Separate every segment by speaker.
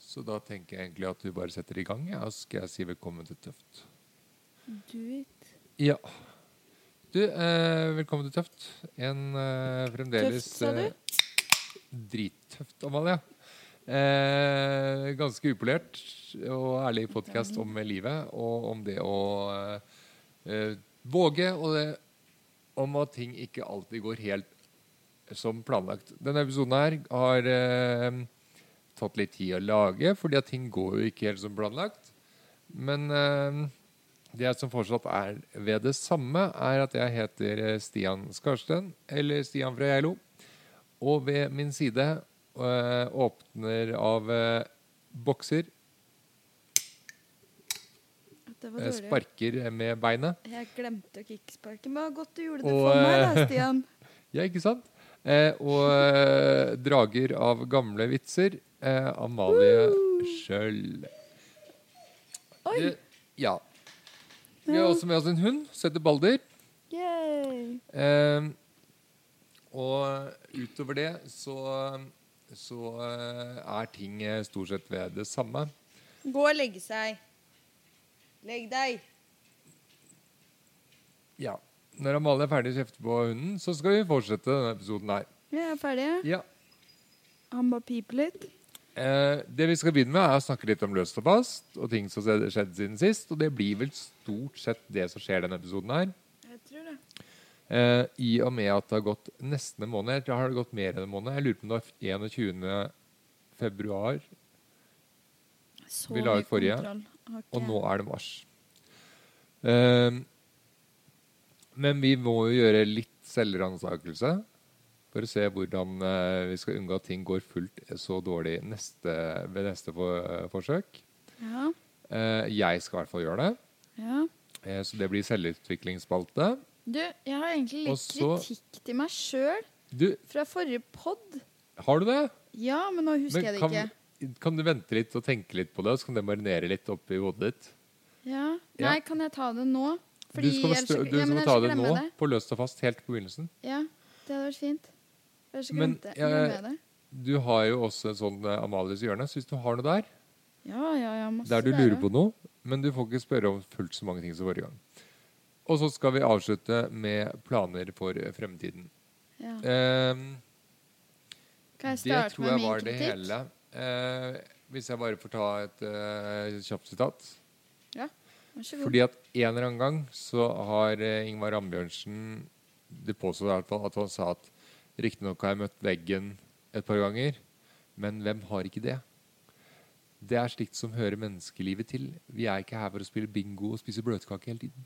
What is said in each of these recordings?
Speaker 1: Så da tenker jeg egentlig at du bare setter i gang, ja, og så skal jeg si velkommen til Tøft.
Speaker 2: Do it.
Speaker 1: Ja. Du, eh, velkommen til Tøft. En eh, fremdeles
Speaker 2: Tøft, sa du?
Speaker 1: eh, drittøft, Amalie. Eh, ganske upolert og ærlig podkast om livet og om det å eh, eh, våge, og det om at ting ikke alltid går helt som planlagt. Denne episoden her har eh, tatt litt tid å lage, fordi at ting går jo ikke helt som planlagt. Men eh, det som fortsatt er ved det samme, er at jeg heter eh, Stian Skarsten, eller Stian fra Geilo. Og ved min side eh, åpner av eh, bokser,
Speaker 2: At Det var
Speaker 1: eh,
Speaker 2: dårlig.
Speaker 1: sparker med beinet.
Speaker 2: Jeg glemte å kicksparke, men det var godt du gjorde det
Speaker 1: Og,
Speaker 2: for meg, da,
Speaker 1: eh,
Speaker 2: Stian.
Speaker 1: Ja, ikke sant? Eh, og eh, drager av gamle vitser. Eh, Amalie Skjøll.
Speaker 2: Oi!
Speaker 1: Det- Ja. Vi har også med oss en hund som heter Balder.
Speaker 2: Yay.
Speaker 1: Eh, og utover det så, så eh, er ting eh, stort sett ved det samme.
Speaker 2: Gå og legge seg. Legg deg.
Speaker 1: Ja. Når Amalie er ferdig å kjefte på hunden, så skal vi fortsette denne episoden her.
Speaker 2: Vi er ferdige.
Speaker 1: Ja.
Speaker 2: Han bare piper litt.
Speaker 1: Eh, det vi skal begynne med, er å snakke litt om løst og fast og ting som har skjedd siden sist. Og det blir vel stort sett det som skjer denne episoden her.
Speaker 2: Jeg tror det.
Speaker 1: Eh, I og med at det har gått nesten en måned. Jeg tror det har gått mer enn en måned. Jeg lurer på om det var 21. februar,
Speaker 2: Så
Speaker 1: Vi la
Speaker 2: mye
Speaker 1: ut forrige,
Speaker 2: kontroll. Har ikke
Speaker 1: og
Speaker 2: jeg.
Speaker 1: nå er det mars. Eh, men vi må jo gjøre litt selvransakelse for å se hvordan eh, vi skal unngå at ting går fullt så dårlig neste, ved neste for, forsøk.
Speaker 2: Ja.
Speaker 1: Eh, jeg skal i hvert fall gjøre det.
Speaker 2: ja.
Speaker 1: Eh, så det blir selvutviklingsspalte.
Speaker 2: Du, jeg har egentlig
Speaker 1: Og
Speaker 2: litt
Speaker 1: så-
Speaker 2: kritikk til meg sjøl
Speaker 1: Du,
Speaker 2: fra forrige pod.
Speaker 1: har du det?
Speaker 2: Ja, men nå husker
Speaker 1: Men
Speaker 2: jeg det
Speaker 1: kan,
Speaker 2: ikke.
Speaker 1: kan du vente litt og tenke litt på det, og så kan det marinere litt oppi hodet ditt?
Speaker 2: Ja.
Speaker 1: Ja.
Speaker 2: Nei, kan jeg ta det nå?
Speaker 1: Du skal,
Speaker 2: ellers
Speaker 1: bestø-
Speaker 2: så-
Speaker 1: du
Speaker 2: ja,
Speaker 1: skal
Speaker 2: men ellers
Speaker 1: ta
Speaker 2: så
Speaker 1: det
Speaker 2: glemmer
Speaker 1: nå,
Speaker 2: jeg
Speaker 1: på løst og fast, helt på begynnelsen.
Speaker 2: Ja, det hadde vært fint. Ellers så
Speaker 1: Men
Speaker 2: glemte jeg
Speaker 1: jeg-
Speaker 2: glemmer jeg det.
Speaker 1: Du har jo også en sånn eh, Amalies hjørne, så hvis du har noe der,
Speaker 2: Ja, ja, ja, masse
Speaker 1: der du lurer på noe, men du får ikke spørre om fullt så mange ting som forrige gang. Og så skal vi avslutte med planer for eh, fremtiden.
Speaker 2: Ja.
Speaker 1: Ehm,
Speaker 2: Kan jeg
Speaker 1: det
Speaker 2: starte
Speaker 1: tror
Speaker 2: med
Speaker 1: jeg
Speaker 2: min
Speaker 1: var det
Speaker 2: kritikk?
Speaker 1: hele. Eh, hvis jeg bare får ta et eh, kjapt sitat.
Speaker 2: Vær så god.
Speaker 1: Fordi at en eller annen gang så har eh, Ingvar Ambjørnsen Det påstår i hvert fall at han sa at riktignok har jeg møtt veggen et par ganger, men hvem har ikke det? Det er slikt som hører menneskelivet til. Vi er ikke her for å spille bingo og spise bløtkake hele tiden.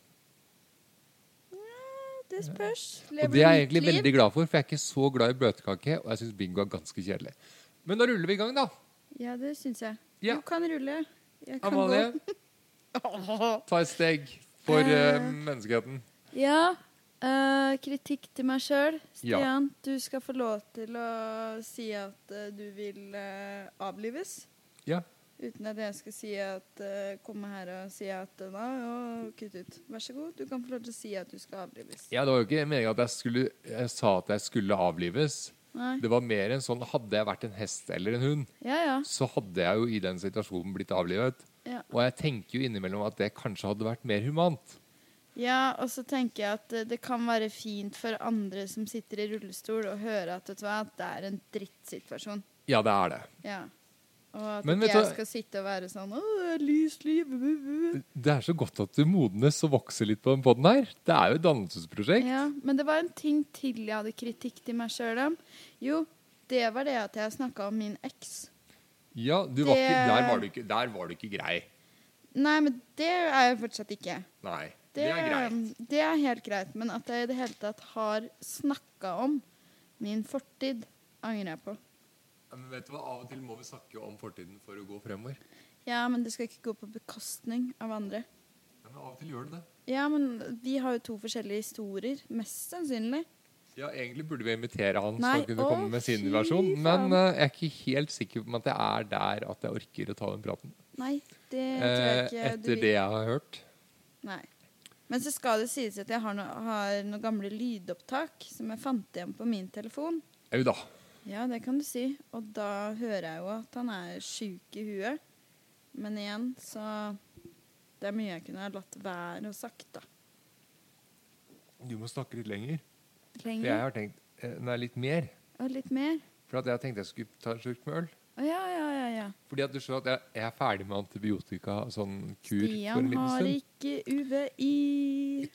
Speaker 2: Det spørs.
Speaker 1: Og det er jeg egentlig veldig glad for, for jeg er ikke så glad i bløtkake, og jeg syns bingo er ganske kjedelig. Men da ruller vi i gang, da.
Speaker 2: Ja, det syns jeg.
Speaker 1: Ja.
Speaker 2: Du kan rulle. Jeg kan
Speaker 1: Amalie,
Speaker 2: gå.
Speaker 1: ta et steg for eh,
Speaker 2: Eh.
Speaker 1: menneskeheten.
Speaker 2: Ja. eh, kritikk til meg sjøl.
Speaker 1: Ja.
Speaker 2: Stian, du skal få lov til å si at eh, du vil eh, avlives.
Speaker 1: Ja.
Speaker 2: Uten at jeg skal si at, eh, komme her og si at uh, og kutt ut. Vær så god, du kan få lov til å si at du skal avlives.
Speaker 1: Ja, det var jo ikke meningen at jeg, skulle, jeg sa at jeg skulle avlives.
Speaker 2: Nei.
Speaker 1: Det var mer en sånn Hadde jeg vært en hest eller en hund,
Speaker 2: Ja, ja.
Speaker 1: så hadde jeg jo i den situasjonen blitt avlivet.
Speaker 2: Ja,
Speaker 1: Og jeg tenker jo innimellom at det kanskje hadde vært mer humant.
Speaker 2: ja og så tenker jeg at eh, det kan være fint for andre som sitter i rullestol, å høre at, vet du hva, at det er en drittsituasjon.
Speaker 1: Ja, det er det.
Speaker 2: Ja. Og at
Speaker 1: Men vet du
Speaker 2: ikke
Speaker 1: hva-
Speaker 2: jeg skal sitte og være sånn Å, det er lyst liv. bu, bu, bu».
Speaker 1: Det er så godt at du modnes og vokser litt på den podden her. Det er jo et dannelsesprosjekt.
Speaker 2: Ja, men det var en ting til jeg hadde kritikk til meg sjøl om. Jo, det var det at jeg snakka om min eks.
Speaker 1: Ja, du var
Speaker 2: Det-
Speaker 1: ikke, der, var du ikke, der var du ikke grei.
Speaker 2: Nei, men det er jeg fortsatt ikke.
Speaker 1: Nei. Det,
Speaker 2: Det, um,
Speaker 1: er greit.
Speaker 2: Det er helt greit. Men at jeg i det hele tatt har snakka om min fortid, angrer jeg på.
Speaker 1: Men vet du hva, Av og til må vi snakke om fortiden for å gå fremover.
Speaker 2: Ja, men det skal ikke gå på bekostning av andre.
Speaker 1: Ja, men Av og til gjør det det.
Speaker 2: Ja, men vi har jo to forskjellige historier, mest sannsynlig.
Speaker 1: Ja, Egentlig burde vi invitere han, så
Speaker 2: Nei,
Speaker 1: han kunne
Speaker 2: å,
Speaker 1: komme med sin
Speaker 2: fy
Speaker 1: versjon. Men
Speaker 2: faen.
Speaker 1: eh, jeg er ikke helt sikker på om at jeg er der at jeg orker å ta den praten.
Speaker 2: Nei, det tror jeg
Speaker 1: Eh,
Speaker 2: ikke du
Speaker 1: etter
Speaker 2: vil.
Speaker 1: det jeg har hørt.
Speaker 2: Nei. Men så skal det sies at jeg har, no har noen gamle lydopptak som jeg fant igjen på min telefon.
Speaker 1: Au da.
Speaker 2: Ja, det kan du si. Og da hører jeg jo at han er sjuk i huet. Men igjen, så Det er mye jeg kunne ha latt være å sagt, da.
Speaker 1: Du må snakke litt lenger. For jeg
Speaker 2: Lenger.
Speaker 1: har tenkt eh, Nei, litt mer.
Speaker 2: Og litt mer.
Speaker 1: For at jeg tenkte jeg skulle ta en slurk med øl.
Speaker 2: Å ja, ja, ja. ja.
Speaker 1: Fordi at du skjønner at jeg, jeg er ferdig med antibiotika, sånn kur, for en
Speaker 2: Stian
Speaker 1: liten
Speaker 2: har
Speaker 1: stund.
Speaker 2: ikke UVI.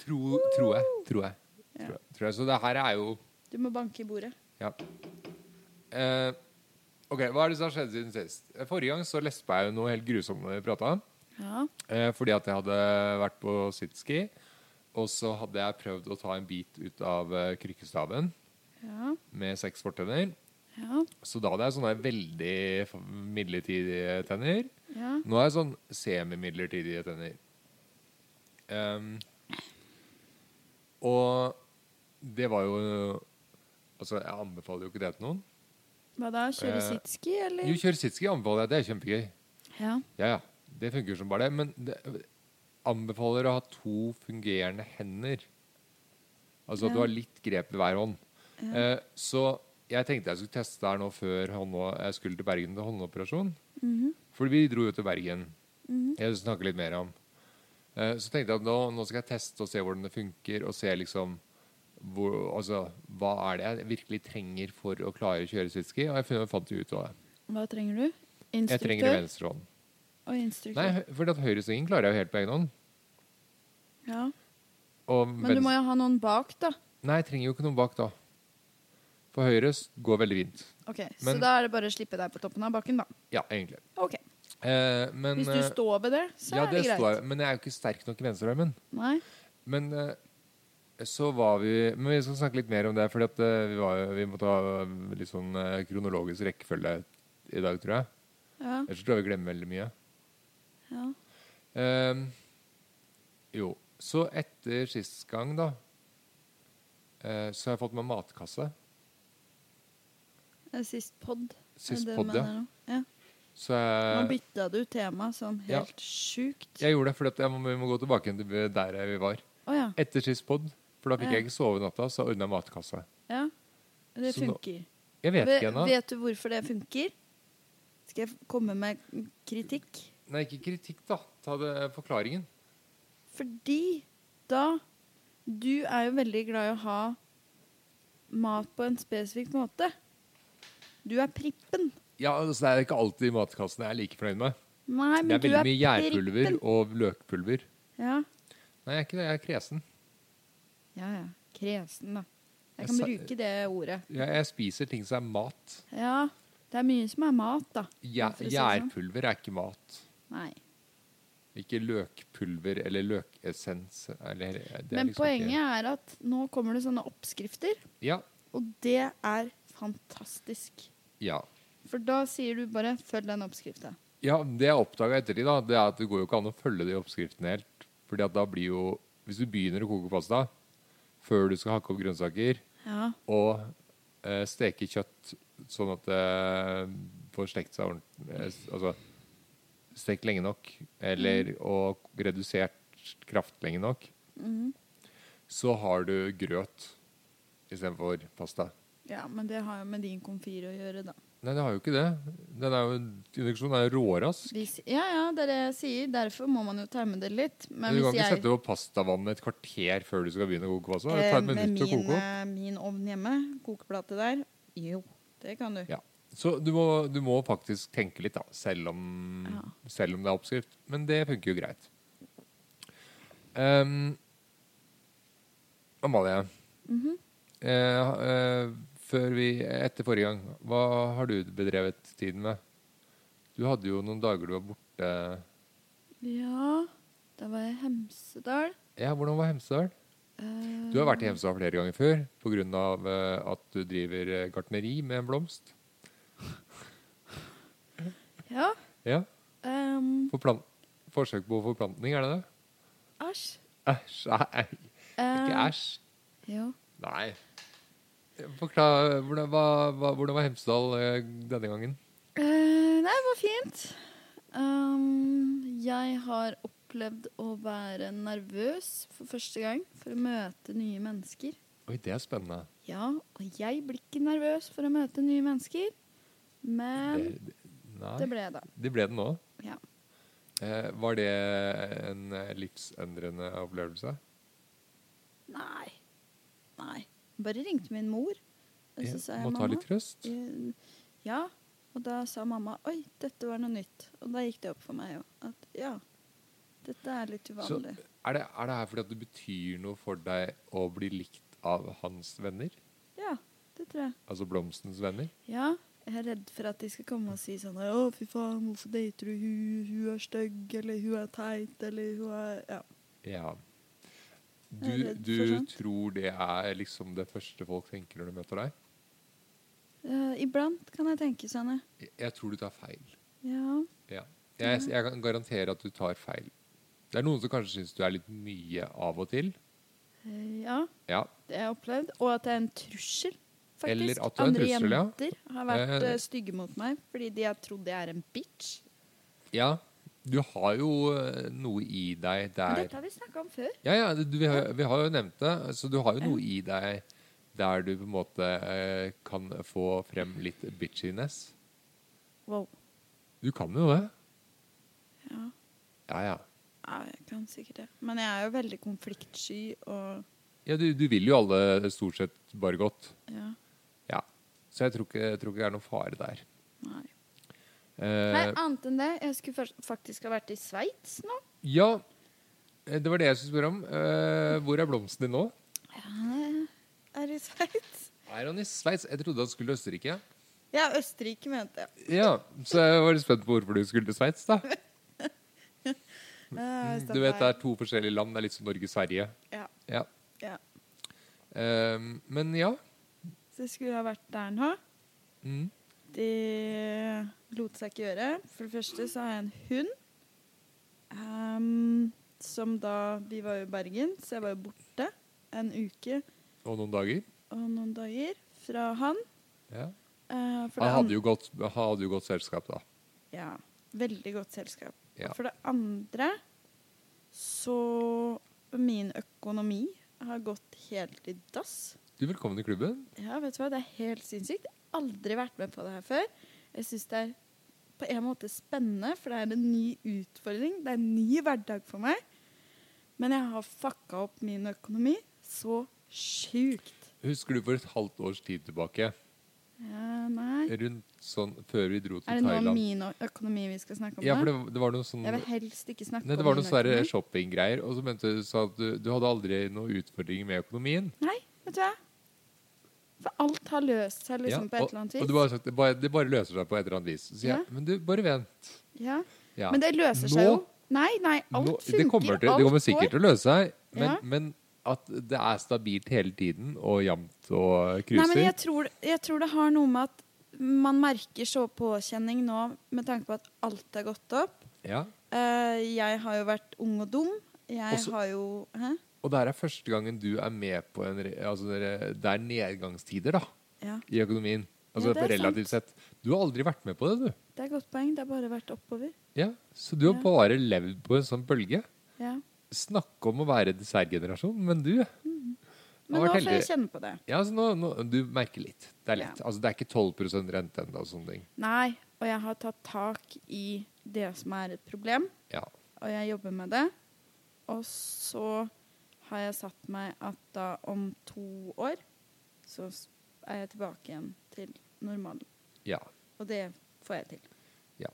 Speaker 1: Tro, tror jeg. Tror jeg.
Speaker 2: Ja.
Speaker 1: Tror jeg, tror jeg. Så det her er jo
Speaker 2: Du må banke i bordet.
Speaker 1: Ja. Eh, ok, Hva er det som har skjedd siden sist? Eh, Forrige gang så lespa jeg jo noe helt grusomt når vi prata.
Speaker 2: Ja.
Speaker 1: Eh, fordi at jeg hadde vært på sitski, og så hadde jeg prøvd å ta en bit ut av eh, krykkestaven
Speaker 2: Ja.
Speaker 1: med seks fortenner.
Speaker 2: Ja.
Speaker 1: Så da hadde jeg sånne veldig f- midlertidige tenner.
Speaker 2: Ja.
Speaker 1: Nå har jeg sånn semimidlertidige tenner. Ehm, og det var jo Altså, jeg anbefaler jo ikke det til noen.
Speaker 2: Hva da? Kjøre
Speaker 1: Eh,
Speaker 2: sitski, eller?
Speaker 1: Jo, kjør sitski anbefaler jeg. Det er kjempegøy.
Speaker 2: Ja.
Speaker 1: Ja, ja. Det funker som bare det. Men det anbefaler å ha to fungerende hender. Altså
Speaker 2: Ja.
Speaker 1: at du har litt grep ved hver hånd. Eh, så jeg tenkte jeg skulle teste det her nå før hånda- jeg skulle til Bergen til håndoperasjon. For vi dro jo til Bergen. Jeg snakker litt mer om. Eh, så tenkte jeg at nå, nå skal jeg teste og se hvordan det funker, og se liksom hvor, altså, hva er det jeg virkelig trenger for å klare å kjøre sitski. Og jeg fant- fant jo ut av det.
Speaker 2: Hva trenger du?
Speaker 1: Jeg trenger
Speaker 2: Instruktør?
Speaker 1: venstre hånd.
Speaker 2: Og instruktør.
Speaker 1: Nei, for at høyresvingen klarer jeg jo helt på egen hånd.
Speaker 2: Ja.
Speaker 1: Og
Speaker 2: Men du må
Speaker 1: venstre-
Speaker 2: jo ha noen bak, da.
Speaker 1: Nei, jeg trenger jo ikke noen bak da. For høyre s- går veldig fint.
Speaker 2: Ok, Så
Speaker 1: Men-
Speaker 2: da er det bare å slippe deg på toppen av bakken, da.
Speaker 1: Ja, egentlig.
Speaker 2: Ok,
Speaker 1: Eh, men,
Speaker 2: Hvis du
Speaker 1: eh,
Speaker 2: står ved det, så
Speaker 1: ja,
Speaker 2: er det greit.
Speaker 1: står jeg- men jeg er jo ikke sterk nok i venstrearmen.
Speaker 2: Nei?
Speaker 1: Men eh, så var vi Men vi skal snakke litt mer om det, for vi, var jo- vi må ta eh, litt sånn eh, kronologisk rekkefølge i dag, tror jeg.
Speaker 2: Ja.
Speaker 1: Ellers tror jeg vi glemmer veldig mye.
Speaker 2: ja.
Speaker 1: Ehm, jo. Så etter sist gang, da, eh, så har jeg fått meg matkasse.
Speaker 2: Det er Sist pod. er
Speaker 1: Sist
Speaker 2: det du
Speaker 1: podd, ja.
Speaker 2: mener nå? ja.
Speaker 1: Så jeg,
Speaker 2: Nå bytta du tema sånn
Speaker 1: ja.
Speaker 2: helt sjukt. Å ja.
Speaker 1: Jeg gjorde det, for at jeg må, vi må gå tilbake igjen til der vi var.
Speaker 2: ja.
Speaker 1: Etter sist pod, for da fikk
Speaker 2: Ja.
Speaker 1: jeg ikke sove natta, så ordna jeg matkasse.
Speaker 2: Det
Speaker 1: Så nå-
Speaker 2: funker.
Speaker 1: Jeg vet ikke
Speaker 2: Ve-
Speaker 1: ennå.
Speaker 2: vet du hvorfor det funker? Skal jeg f- komme med kritikk?
Speaker 1: Nei, ikke kritikk, da. Ta det, forklaringen.
Speaker 2: Fordi da Du er jo veldig glad i å ha mat på en spesifikk måte. Du er prippen.
Speaker 1: Ja, altså, Det er ikke alltid matkassen jeg er like fornøyd med.
Speaker 2: Nei, men
Speaker 1: Det er
Speaker 2: du
Speaker 1: veldig
Speaker 2: er
Speaker 1: mye gjærpulver
Speaker 2: prippen.
Speaker 1: og løkpulver.
Speaker 2: Ja.
Speaker 1: Nei, jeg er ikke det. Jeg er kresen.
Speaker 2: Ja, ja. Kresen, da. Jeg
Speaker 1: Jeg
Speaker 2: kan
Speaker 1: sa-
Speaker 2: bruke det ordet.
Speaker 1: Jeg, jeg spiser ting som er mat.
Speaker 2: Ja, det er mye som er mat, da.
Speaker 1: Gjæ-
Speaker 2: For å si det sånn.
Speaker 1: Gjærpulver er ikke mat.
Speaker 2: Nei.
Speaker 1: Ikke løkpulver eller løkessens. Eller, det er
Speaker 2: Men
Speaker 1: liksom ikke-
Speaker 2: poenget er at nå kommer det sånne oppskrifter,
Speaker 1: Ja.
Speaker 2: og det er fantastisk.
Speaker 1: ja.
Speaker 2: For da sier du bare 'følg den oppskrifta'.
Speaker 1: Ja, det jeg oppdaga ettertid, da, det er at det går jo ikke an å følge de oppskriftene helt. Fordi at da blir jo Hvis du begynner å koke pasta før du skal hakke opp grønnsaker,
Speaker 2: Ja.
Speaker 1: og eh, steke kjøtt sånn at det får stekt seg ordentlig eh, s- Altså stekt lenge nok, eller
Speaker 2: Mm.
Speaker 1: og redusert kraft lenge nok,
Speaker 2: Mm.
Speaker 1: så har du grøt istedenfor pasta.
Speaker 2: ja, men det har jo med din komfyr å gjøre, da.
Speaker 1: Nei, det har jo ikke det. Den er jo, induksjonen er jo rårask.
Speaker 2: Hvis, ja, ja, det er det jeg sier. Derfor må man jo terme det litt. Men
Speaker 1: du kan
Speaker 2: hvis
Speaker 1: ikke
Speaker 2: jeg
Speaker 1: sette på pastavannet et kvarter før du skal begynne å koke pasta. Det
Speaker 2: eh,
Speaker 1: tar et
Speaker 2: med
Speaker 1: minutt å
Speaker 2: min,
Speaker 1: koke opp.
Speaker 2: eh, min ovn hjemme, kokeplate der Jo, det kan du.
Speaker 1: Ja. Så du må, du må faktisk tenke litt, da, selv om,
Speaker 2: Ja.
Speaker 1: selv om det er oppskrift. Men det funker jo greit. Ehm, Amalie,
Speaker 2: Mhm.
Speaker 1: eh, ha- eh, før vi, etter forrige gang, hva har du bedrevet tiden med? Du hadde jo noen dager du var borte.
Speaker 2: Ja, da var jeg i Hemsedal.
Speaker 1: Ja, Hvordan var Hemsedal?
Speaker 2: Eh,
Speaker 1: Du har vært i Hemsedal flere ganger før pga. at du driver eh, gartneri med en blomst.
Speaker 2: Ja.
Speaker 1: Ja,
Speaker 2: ehm,
Speaker 1: forplant Forsøk på forplantning, er det det?
Speaker 2: æsj.
Speaker 1: Æsj, nei. Ikke
Speaker 2: Eh,
Speaker 1: æsj.
Speaker 2: Jo.
Speaker 1: Nei. Forklar, hvordan, hva, hva, hvordan var Hemsedal eh, denne gangen?
Speaker 2: Eh, nei, det var fint. Ehm, jeg har opplevd å være nervøs for første gang for å møte nye mennesker.
Speaker 1: Oi, det er spennende.
Speaker 2: Ja, og jeg blir ikke nervøs for å møte nye mennesker, men
Speaker 1: Det, det, nei,
Speaker 2: Um, det ble jeg da.
Speaker 1: det ble det nå.
Speaker 2: Ja.
Speaker 1: Eh, var det en eh, livsendrende opplevelse?
Speaker 2: Nei. Nei. Bare ringte min mor. Og så sa
Speaker 1: Jeg
Speaker 2: jeg
Speaker 1: må ta
Speaker 2: mamma.
Speaker 1: litt trøst.
Speaker 2: eh, Ja. Og da sa mamma oi, dette var noe nytt. Og da gikk det opp for meg jo at ja, dette er litt
Speaker 1: Så
Speaker 2: uvanlig.
Speaker 1: er det, er det her fordi at det betyr noe for deg å bli likt av hans venner?
Speaker 2: Ja, det tror jeg.
Speaker 1: Altså Blomstens venner?
Speaker 2: Ja. Jeg er redd for at de skal komme og si sånn Å, fy faen, hvorfor dater du hun? Hun er stygg, eller hun er teit, eller hun er Ja.
Speaker 1: Ja. Du,
Speaker 2: Jeg er redd
Speaker 1: du
Speaker 2: for sånt.
Speaker 1: tror det er liksom det første folk tenker når de møter deg?
Speaker 2: Eh, iblant kan jeg tenke sånn, ja.
Speaker 1: Jeg, jeg tror du tar feil.
Speaker 2: ja.
Speaker 1: Ja. Jeg, jeg kan garantere at du tar feil. Det er noen som kanskje syns du er litt mye av og til.
Speaker 2: Eh, Ja,
Speaker 1: Ja.
Speaker 2: det har jeg opplevd. Og at det er en trussel, faktisk.
Speaker 1: Eller at det er en
Speaker 2: Andre
Speaker 1: trussel, ja.
Speaker 2: jenter har vært
Speaker 1: Eh,
Speaker 2: eh, stygge mot meg fordi de har trodd jeg er en bitch.
Speaker 1: ja. Du har jo eh, noe i deg
Speaker 2: Men
Speaker 1: der
Speaker 2: dette har vi snakka om før.
Speaker 1: Ja, ja, du, vi, har, vi har jo nevnt det. Så du har jo noe i deg der du på en måte eh, kan få frem litt bitchiness.
Speaker 2: Wow.
Speaker 1: Du kan jo det.
Speaker 2: Ja.
Speaker 1: Ja, ja.
Speaker 2: ja, jeg kan sikkert det. Men jeg er jo veldig konfliktsky og
Speaker 1: ja du, du vil jo alle stort sett bare godt.
Speaker 2: Ja,
Speaker 1: Ja. Så jeg tror ikke, jeg tror ikke det er noen fare der.
Speaker 2: nei. Nei,
Speaker 1: Eh,
Speaker 2: annet enn det. Jeg skulle først- faktisk ha vært i Sveits nå.
Speaker 1: ja, eh, det var det jeg skulle spørre om. Eh, hvor er blomsten din nå?
Speaker 2: Jeg er i Sveits.
Speaker 1: Er han i Sveits? Jeg trodde han skulle til Østerrike.
Speaker 2: Ja, Østerrike, mente jeg.
Speaker 1: Ja, Så jeg var litt spent på hvorfor du skulle til Sveits. da.
Speaker 2: Eh,
Speaker 1: Du vet, Det er to forskjellige land. Det er litt som Norge-Sverige.
Speaker 2: Ja,
Speaker 1: Ja.
Speaker 2: ja.
Speaker 1: Ehm, men ja.
Speaker 2: Så jeg skulle ha vært der nå.
Speaker 1: Mm.
Speaker 2: Det lot seg ikke gjøre. For det første så har jeg en hund. ehm, som da Vi var jo i Bergen, så jeg var jo borte en uke
Speaker 1: Og noen dager.
Speaker 2: og noen dager fra han.
Speaker 1: Ja.
Speaker 2: Eh, for det
Speaker 1: Han
Speaker 2: an-
Speaker 1: hadde jo godt, han hadde jo godt selskap, da.
Speaker 2: Ja. Veldig godt selskap.
Speaker 1: Ja.
Speaker 2: For det andre så Min økonomi har gått helt i dass.
Speaker 1: Du, velkommen i klubben.
Speaker 2: Ja, vet du hva? Det er helt sinnssykt. Jeg har aldri vært med på det her før. Jeg syns det er på en måte spennende, for det er en ny utfordring. Det er en ny hverdag for meg. Men jeg har fucka opp min økonomi så sjukt.
Speaker 1: Husker du for et halvt års tid tilbake?
Speaker 2: Ja, nei.
Speaker 1: Rundt sånn før vi dro
Speaker 2: Er
Speaker 1: til
Speaker 2: det nå
Speaker 1: Thailand.
Speaker 2: min o- økonomi vi skal snakke om?
Speaker 1: Ja, for
Speaker 2: nå?
Speaker 1: det, det var noe sånn
Speaker 2: Jeg vil helst ikke snakke
Speaker 1: Nei, det
Speaker 2: om
Speaker 1: var
Speaker 2: min
Speaker 1: noen sånne
Speaker 2: økonomi.
Speaker 1: shoppinggreier, og så mente du sa at du, du hadde aldri noen utfordringer med økonomien.
Speaker 2: Nei, vet du hva? For alt har løst seg
Speaker 1: Ja,
Speaker 2: liksom på et
Speaker 1: og,
Speaker 2: eller annet
Speaker 1: og
Speaker 2: vis.
Speaker 1: du bare sagt, det, bare, det bare løser seg på et eller annet vis. Så sier
Speaker 2: Ja.
Speaker 1: jeg, men du, bare vent.
Speaker 2: ja.
Speaker 1: Ja.
Speaker 2: Men det løser
Speaker 1: Nå-
Speaker 2: seg jo. Nei, nei, alt
Speaker 1: Nå-
Speaker 2: funker.
Speaker 1: det kommer, til,
Speaker 2: alt
Speaker 1: det kommer sikkert
Speaker 2: går.
Speaker 1: til å løse seg, men,
Speaker 2: Ja.
Speaker 1: men at det er stabilt hele tiden og jevnt og
Speaker 2: Nei,
Speaker 1: kruser
Speaker 2: men jeg tror, jeg tror det har noe med at man merker så påkjenning nå med tanke på at alt er gått opp.
Speaker 1: ja.
Speaker 2: Eh, jeg har jo vært ung og dum. Jeg
Speaker 1: Også-
Speaker 2: har jo Hæ?
Speaker 1: Og det her er første gangen du er med på en re- altså dere- Det er nedgangstider da
Speaker 2: Ja,
Speaker 1: i økonomien. Altså
Speaker 2: Ja, det er
Speaker 1: relativt sett. Du har aldri vært med på det, du.
Speaker 2: det er et godt poeng. Det har bare vært oppover.
Speaker 1: Ja, Så du har
Speaker 2: Ja.
Speaker 1: bare levd på en sånn bølge.
Speaker 2: Ja.
Speaker 1: Snakke om å være dessertgenerasjon, men du
Speaker 2: Men
Speaker 1: Har
Speaker 2: nå
Speaker 1: vært
Speaker 2: får jeg
Speaker 1: heldig.
Speaker 2: kjenne på det.
Speaker 1: ja, altså nå, nå, Du merker litt. Det er
Speaker 2: Ja.
Speaker 1: lett. Altså, det er ikke 12 rente ennå og sånne ting.
Speaker 2: Nei, og jeg har tatt tak i det som er et problem.
Speaker 1: Ja.
Speaker 2: og jeg jobber med det. Og så har jeg satt meg at da om to år så s- er jeg tilbake igjen til normalen.
Speaker 1: ja.
Speaker 2: Og det får jeg til.
Speaker 1: Ja.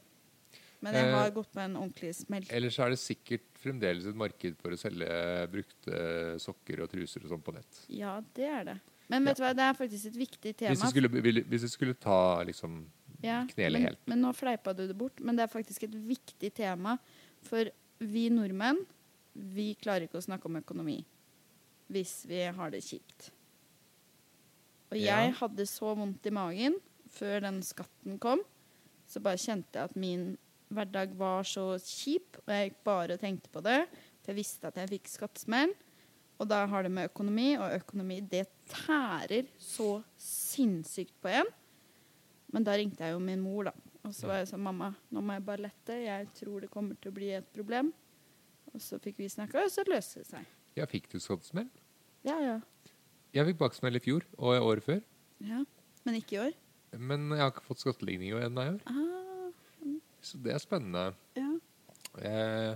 Speaker 2: Men jeg har
Speaker 1: Eh,
Speaker 2: gått med en ordentlig smell.
Speaker 1: Ellers er det sikkert fremdeles et marked for å selge brukte sokker og truser og sånn på nett.
Speaker 2: Ja, det er det. Men vet du hva, det er faktisk et viktig tema.
Speaker 1: Hvis du skulle, vil- hvis du skulle ta liksom
Speaker 2: Ja,
Speaker 1: knele
Speaker 2: men,
Speaker 1: helt.
Speaker 2: Men nå fleipa du det bort. Men det er faktisk et viktig tema. For vi nordmenn, vi klarer ikke å snakke om økonomi hvis vi har det kjipt. Og jeg
Speaker 1: Ja.
Speaker 2: hadde så vondt i magen før den skatten kom, så bare kjente jeg at min hverdag var så kjip, og jeg gikk bare og tenkte på det. For jeg visste at jeg fikk skattesmell. Og da har det med økonomi, og økonomi det tærer så sinnssykt på en. Men da ringte jeg jo min mor, da. Og så var jeg sånn, mamma, nå må jeg bare lette. Jeg tror det kommer til å bli et problem. Og så fikk vi snakka, og så løste det seg.
Speaker 1: Ja, fikk du skattesmell?
Speaker 2: Ja, ja.
Speaker 1: Jeg fikk baksmell i fjor og året før.
Speaker 2: Ja. Men ikke i år?
Speaker 1: Men jeg har ikke fått skattlegging ennå i år.
Speaker 2: Ah,
Speaker 1: Så det er spennende.
Speaker 2: ja.
Speaker 1: Eh,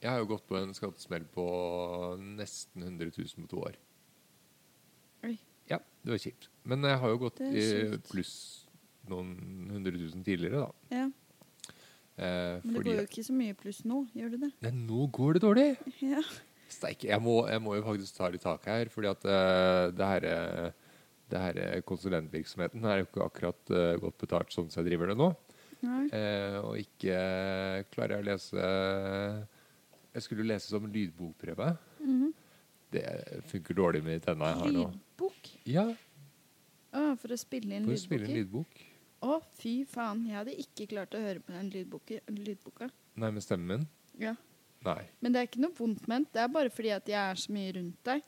Speaker 1: jeg har jo gått på en skattesmell på nesten 100 000 på to år.
Speaker 2: Oi.
Speaker 1: Ja, det var kjipt. Men jeg har jo gått
Speaker 2: Det
Speaker 1: i
Speaker 2: er kjipt.
Speaker 1: pluss noen hundre tusen tidligere, da.
Speaker 2: ja.
Speaker 1: Eh,
Speaker 2: Men det
Speaker 1: fordi
Speaker 2: går jo ikke så mye pluss nå, gjør det det?
Speaker 1: Nei, nå går det dårlig!
Speaker 2: Ja.
Speaker 1: Steike. Jeg, må- jeg må jo faktisk ta litt tak her, fordi at eh, det her eh, det her eh, konsulentvirksomheten er jo ikke akkurat eh, godt betalt sånn som jeg driver det nå.
Speaker 2: Nei.
Speaker 1: Eh, og ikke eh, klarer jeg å lese eh, Jeg skulle jo lese som lydbokprøve.
Speaker 2: Mhm.
Speaker 1: Det funker dårlig med de tenna jeg har nå.
Speaker 2: Lydbok?
Speaker 1: Ja,
Speaker 2: Å, for å spille inn
Speaker 1: for å spille en
Speaker 2: lydboker?
Speaker 1: lydbok.
Speaker 2: Å, fy faen. Jeg hadde ikke klart å høre på den lydboka. lydboka.
Speaker 1: Nei, med stemmen min?
Speaker 2: Ja.
Speaker 1: Nei.
Speaker 2: Men det er ikke noe vondt ment. Det er bare fordi at jeg er så mye rundt deg.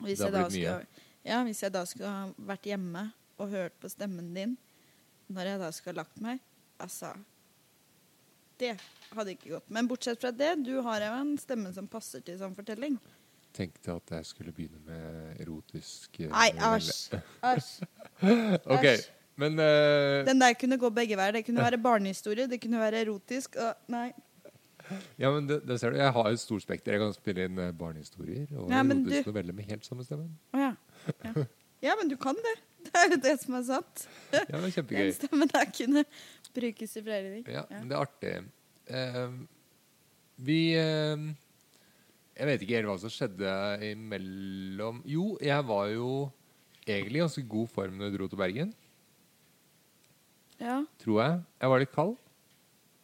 Speaker 2: Og Hvis
Speaker 1: Det
Speaker 2: jeg da
Speaker 1: har blitt mye.
Speaker 2: skulle, ja, hvis jeg da skulle ha vært hjemme og hørt på stemmen din når jeg da skulle ha lagt meg Altså Det hadde ikke gått. Men bortsett fra det, du har jo en stemme som passer til sånn fortelling.
Speaker 1: Tenkte at jeg skulle begynne med erotisk eh,
Speaker 2: Nei,
Speaker 1: novelle.
Speaker 2: æsj. Æsj.
Speaker 1: OK,
Speaker 2: æsj.
Speaker 1: men eh,
Speaker 2: Den der kunne gå begge veier. Det kunne være barnehistorie, det kunne være erotisk. Og, nei.
Speaker 1: Ja, men det, det ser du. Jeg har et stort spekter. Jeg kan spille inn eh, barnehistorier og
Speaker 2: Ja, men
Speaker 1: erotisk
Speaker 2: du-
Speaker 1: novelle med helt samme stemme.
Speaker 2: Å ja. ja. Ja, men du kan det. Det er jo det som er sant.
Speaker 1: Ja, det er
Speaker 2: Den
Speaker 1: kjempegøy.
Speaker 2: stemmen der kunne brukes i flere ting.
Speaker 1: Ja, men det er artig. Ehm, vi ehm, Jeg vet ikke helt hva som skjedde imellom Jo, jeg var jo egentlig i ganske god form da jeg dro til Bergen,
Speaker 2: ja.
Speaker 1: tror jeg. Jeg var litt kald.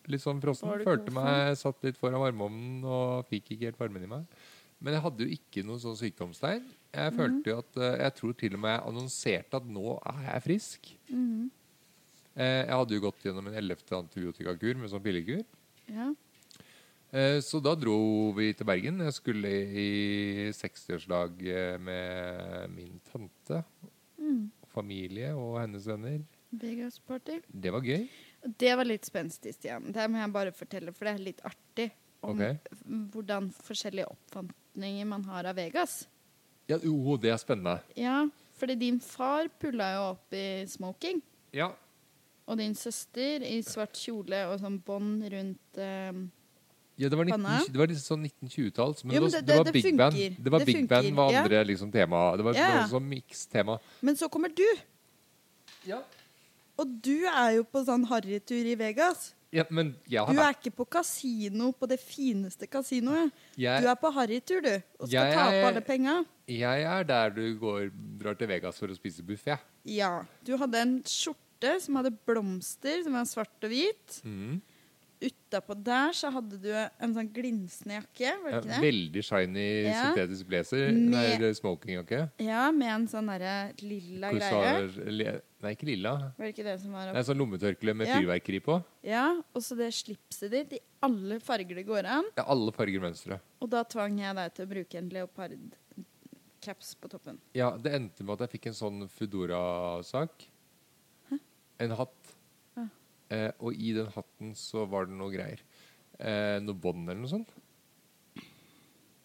Speaker 1: Litt sånn frossen.
Speaker 2: Var du god
Speaker 1: Følte
Speaker 2: form?
Speaker 1: meg satt litt foran varmeovnen og fikk ikke helt varmen i meg. Men jeg hadde jo ikke noe sånn sykdomstegn.
Speaker 2: Mhm.
Speaker 1: Jeg følte jo at eh, Jeg tror til og med jeg annonserte at nå er jeg frisk.
Speaker 2: Mhm.
Speaker 1: Eh, Jeg hadde jo gått gjennom en ellevte antibiotikakur med sånn pillekur.
Speaker 2: ja.
Speaker 1: Eh, Så da dro vi til Bergen. Jeg skulle i 60-årslag eh, med min tante,
Speaker 2: Mm.
Speaker 1: familie og hennes venner.
Speaker 2: Vegas party.
Speaker 1: Det var gøy.
Speaker 2: Og Det var litt spenstig, Stian. Det må jeg bare fortelle, for det er litt artig. Om
Speaker 1: Ok.
Speaker 2: f- hvordan forskjellige oppfatninger man har av Vegas.
Speaker 1: Ja, jo, det er spennende.
Speaker 2: Ja, fordi din far pulla jo opp i smoking.
Speaker 1: Ja.
Speaker 2: Og din søster i svart kjole og sånn bånd rundt eh,
Speaker 1: Ja, det var, 19,
Speaker 2: Hanna?
Speaker 1: det var litt sånn 1920-tall. Men,
Speaker 2: Ja, men
Speaker 1: det, var-
Speaker 2: det-
Speaker 1: det var
Speaker 2: det
Speaker 1: big
Speaker 2: funker.
Speaker 1: band. Det var
Speaker 2: Det
Speaker 1: big band
Speaker 2: funker,
Speaker 1: var
Speaker 2: ja.
Speaker 1: andre liksom, tema. Det var, det
Speaker 2: Ja.
Speaker 1: var sånn mix-tema.
Speaker 2: Men så kommer du!
Speaker 1: Ja.
Speaker 2: Og du er jo på sånn harrytur i Vegas.
Speaker 1: men jeg har
Speaker 2: Du er
Speaker 1: vært
Speaker 2: ikke på kasino på det fineste kasinoet.
Speaker 1: jeg,
Speaker 2: Du er på harrytur, du. Og skal
Speaker 1: Jeg-
Speaker 2: tape alle penga.
Speaker 1: jeg er der du går, drar til Vegas for å spise buffé.
Speaker 2: Ja. Du hadde en skjorte som hadde blomster, som var svart og hvit.
Speaker 1: Mm.
Speaker 2: Utapå der så hadde du en sånn glinsende jakke, var
Speaker 1: Ja,
Speaker 2: det ikke det?
Speaker 1: veldig shiny
Speaker 2: Ja.
Speaker 1: syntetisk blazer.
Speaker 2: Med-
Speaker 1: Nei, smokingjakke.
Speaker 2: Ja, med en sånn derre lilla greie.
Speaker 1: Pulsar, li- nei, ikke lilla.
Speaker 2: Var det ikke det som var
Speaker 1: Det er
Speaker 2: opp?
Speaker 1: sånn lommetørkle med
Speaker 2: Ja.
Speaker 1: fyrverkeri på.
Speaker 2: Ja, og så det slipset ditt i alle farger det går an.
Speaker 1: Det er alle farger og mønstre.
Speaker 2: Og da tvang jeg deg til å bruke en leopardcaps på toppen.
Speaker 1: Ja, det endte med at jeg fikk en sånn Foodora-sak. En hatt.
Speaker 2: Ja.
Speaker 1: Eh, og i den hatten så var det noe greier. Eh, noe bånd eller noe sånt.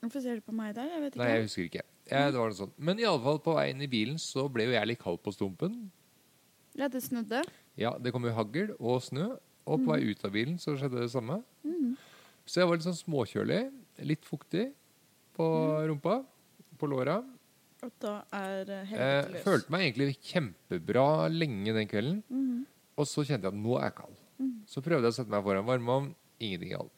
Speaker 2: Hvorfor ser du på meg der? Jeg vet ikke.
Speaker 1: Nei, jeg husker ikke. Ja, det var noe sånt. Men iallfall på veien i bilen så ble jo jeg litt kald på stumpen.
Speaker 2: Ja, det snudde.
Speaker 1: Ja, det kom jo hagl og snø. Og på vei ut av bilen så skjedde det samme. Så jeg var litt sånn småkjølig. Litt fuktig på rumpa. På låra.
Speaker 2: Og da er eh, helvete
Speaker 1: Eh,
Speaker 2: løs.
Speaker 1: følte meg egentlig kjempebra lenge den kvelden.
Speaker 2: Mhm.
Speaker 1: Og så kjente jeg at nå er jeg kald. Så prøvde jeg å sette meg foran varmeovn. Ingenting hjalp.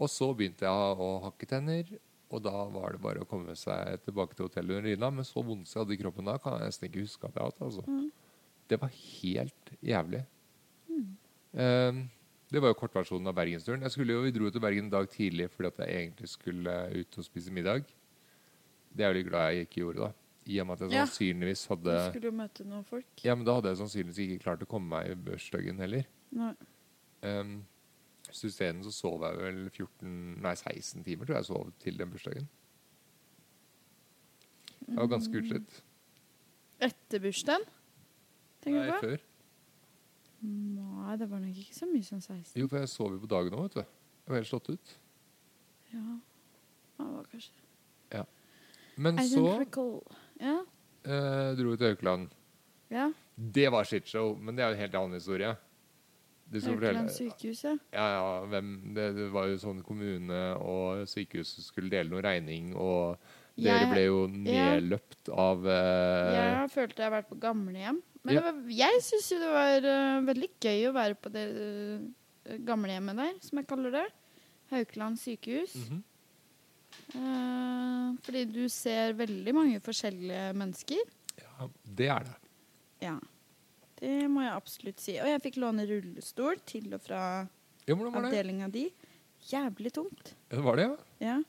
Speaker 1: Og så begynte jeg å hakke tenner. Og da var det bare å komme seg tilbake til hotellet under dyna. Men så vondt jeg hadde i kroppen da, kan jeg nesten ikke huske at jeg har hatt. Altså. Det var helt jævlig.
Speaker 2: Hmm.
Speaker 1: Eh, det var jo kortversjonen av bergensturen. Jeg skulle jo, Vi dro jo til Bergen en dag tidlig fordi at jeg egentlig skulle ut og spise middag. Det er jeg jo glad jeg ikke gjorde, da. I og med at jeg
Speaker 2: Ja.
Speaker 1: sannsynligvis
Speaker 2: Du
Speaker 1: hadde
Speaker 2: skulle jo møte noen folk.
Speaker 1: ja, men da hadde jeg sannsynligvis ikke klart å komme meg i bursdagen heller.
Speaker 2: Nei.
Speaker 1: Um, så isteden så sov jeg vel 14, nei 16 timer, tror jeg jeg sov til den bursdagen. Jeg var
Speaker 2: Mm.
Speaker 1: ganske utslett.
Speaker 2: Etter bursdagen?
Speaker 1: Nei,
Speaker 2: Tenker du på?
Speaker 1: før.
Speaker 2: Nei, det var nok ikke så mye som 16.
Speaker 1: Jo, for jeg sov jo på dagen òg, vet du. Jeg var helt slått ut.
Speaker 2: Ja, det var kanskje
Speaker 1: Men
Speaker 2: I
Speaker 1: så
Speaker 2: don't recall. Ja.
Speaker 1: eh, dro til Haukeland.
Speaker 2: Ja.
Speaker 1: Det var shitshow, men det er jo en helt annen historie. Du skal
Speaker 2: Haukeland
Speaker 1: fortelle-
Speaker 2: sykehus, ja.
Speaker 1: ja, ja, hvem, det, det var jo sånn kommune og sykehus skulle dele noe regning, og dere
Speaker 2: Jeg-
Speaker 1: ble jo
Speaker 2: ja.
Speaker 1: nedløpt av eh,
Speaker 2: Jeg har følt jeg har vært på gamlehjem. Men
Speaker 1: Ja.
Speaker 2: det var, jeg syns jo det var eh, veldig gøy å være på det eh, gamlehjemmet der, som jeg kaller det. Haukeland sykehus.
Speaker 1: Mhm.
Speaker 2: Eh, fordi du ser veldig mange forskjellige mennesker.
Speaker 1: ja, Det er det.
Speaker 2: Ja. Det må jeg absolutt si. Og jeg fikk låne rullestol til og fra
Speaker 1: Ja, hvordan var det?
Speaker 2: avdelinga di. Jævlig tungt.
Speaker 1: Ja, Var det, ja?
Speaker 2: Ja.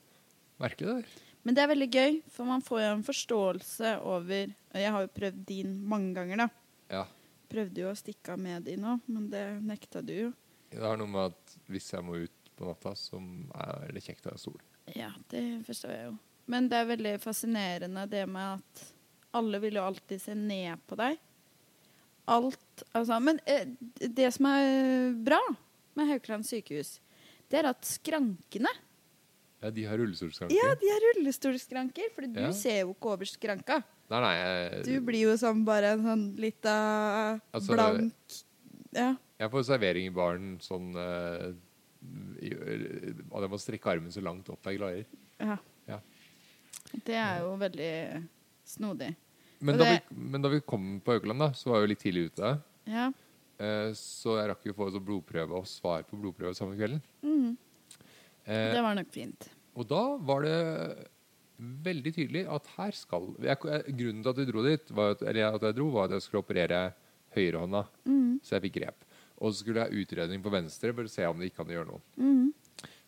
Speaker 1: Merkelig det der.
Speaker 2: Men det er veldig gøy, for man får jo en forståelse over og Jeg har jo prøvd din mange ganger, da.
Speaker 1: Ja.
Speaker 2: Prøvde jo å stikke av med de nå, men det nekta du jo.
Speaker 1: Det har noe med at hvis jeg må ut på natta, så er det kjekt å ha sol.
Speaker 2: Ja, det forstår jeg jo. Men det er veldig fascinerende det med at alle vil jo alltid se ned på deg. Alt Altså, men eh, det som er bra med Haukeland sykehus, det er at skrankene
Speaker 1: Ja, de har rullestolskranke.
Speaker 2: Ja, de er rullestolskranker, for du
Speaker 1: Ja.
Speaker 2: ser jo ikke over skranka.
Speaker 1: Nei, nei, jeg,
Speaker 2: Du blir jo sånn bare en sånn lita
Speaker 1: Altså,
Speaker 2: blank Ja.
Speaker 1: jeg får servering i baren sånn eh, i, At jeg må strekke armen så langt opp jeg klarer.
Speaker 2: ja.
Speaker 1: Ja.
Speaker 2: Det er jo veldig snodig.
Speaker 1: Men,
Speaker 2: Og
Speaker 1: da
Speaker 2: det-
Speaker 1: vi, men da vi kom på Haukeland, da, så var jeg jo litt tidlig ute.
Speaker 2: Ja.
Speaker 1: Eh, så jeg rakk jo å få sånn blodprøve og svar på blodprøve samme kvelden.
Speaker 2: Mhm.
Speaker 1: Eh,
Speaker 2: Det var nok fint.
Speaker 1: Og da var det veldig tydelig at her skal jeg, jeg- Grunnen til at jeg dro dit, var at, eller at jeg dro, var at jeg skulle operere høyrehånda.
Speaker 2: Mm,
Speaker 1: Så jeg fikk grep. Og så skulle jeg ha utredning på venstre for å se om det gikk an å gjøre noe.
Speaker 2: mm.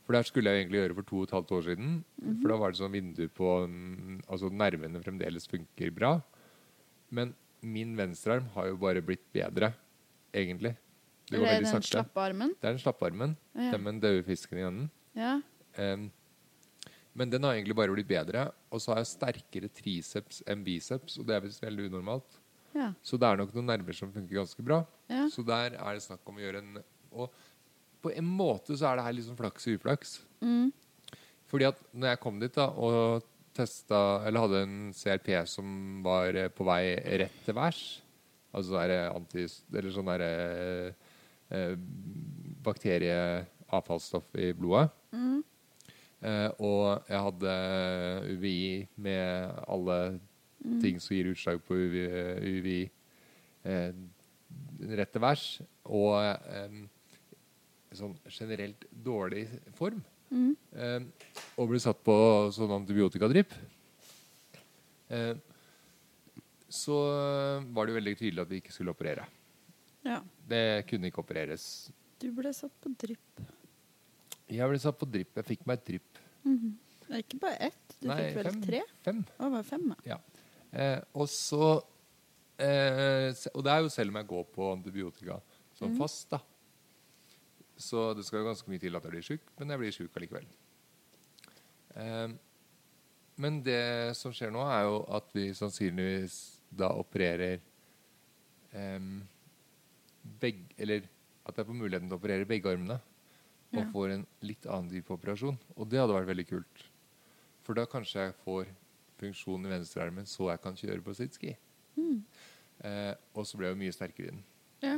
Speaker 1: For det her skulle jeg egentlig gjøre for to og et halvt år siden.
Speaker 2: Mhm.
Speaker 1: For da var det sånn vindu på mm, Altså nervene fremdeles funker bra. Men min venstrearm har jo bare blitt bedre, egentlig. Det går
Speaker 2: Eller
Speaker 1: veldig
Speaker 2: den
Speaker 1: sakte.
Speaker 2: slappe armen.
Speaker 1: Det er den slappe armen.
Speaker 2: Ja, ja.
Speaker 1: Den med den døde fisken i enden.
Speaker 2: Ja.
Speaker 1: Em, men den har egentlig bare blitt bedre. Og så har jeg sterkere triceps enn biceps, og det er visst veldig unormalt.
Speaker 2: Ja.
Speaker 1: Så det er nok noen nerver som funker ganske bra.
Speaker 2: Ja.
Speaker 1: Så der er det snakk om å gjøre en Og på en måte så er det her liksom flaks og uflaks.
Speaker 2: Mm.
Speaker 1: Fordi at når jeg kom dit da og testa Eller hadde en CRP som var eh, på vei rett til værs Altså sånn derre anti... Eller sånn derre eh, bakterieavfallsstoff i blodet.
Speaker 2: Mm,
Speaker 1: Eh, og jeg hadde UVI med alle ting som gir utslag på UVI, UVI eh, rett til værs. Og eh, sånn generelt dårlig form.
Speaker 2: mm.
Speaker 1: Eh, og ble satt på sånn antibiotikadripp. Eh, så eh, var det jo veldig tydelig at vi ikke skulle operere.
Speaker 2: ja.
Speaker 1: Det kunne ikke opereres.
Speaker 2: Du ble satt på drypp.
Speaker 1: Jeg ble satt på dripp. Jeg fikk meg et drypp.
Speaker 2: Mm. Det er ikke bare ett. Du fikk vel
Speaker 1: fem.
Speaker 2: tre?
Speaker 1: fem.
Speaker 2: Å, det var fem, da.
Speaker 1: Ja. Eh, og så eh, se- Og det er jo selv om jeg går på antibiotika som fast, da. Så det skal jo ganske mye til at jeg blir sjuk, men jeg blir sjuk allikevel. Eh, men det som skjer nå, er jo at vi sannsynligvis da opererer em, begge Eller at jeg får muligheten til å operere begge armene. Og
Speaker 2: Ja.
Speaker 1: får en litt annen type operasjon. Og det hadde vært veldig kult. For da kanskje jeg får funksjon i venstrearmen så jeg kan kjøre på sittski.
Speaker 2: Mm.
Speaker 1: Eh, og så ble jeg jo mye sterkere i den.
Speaker 2: Ja.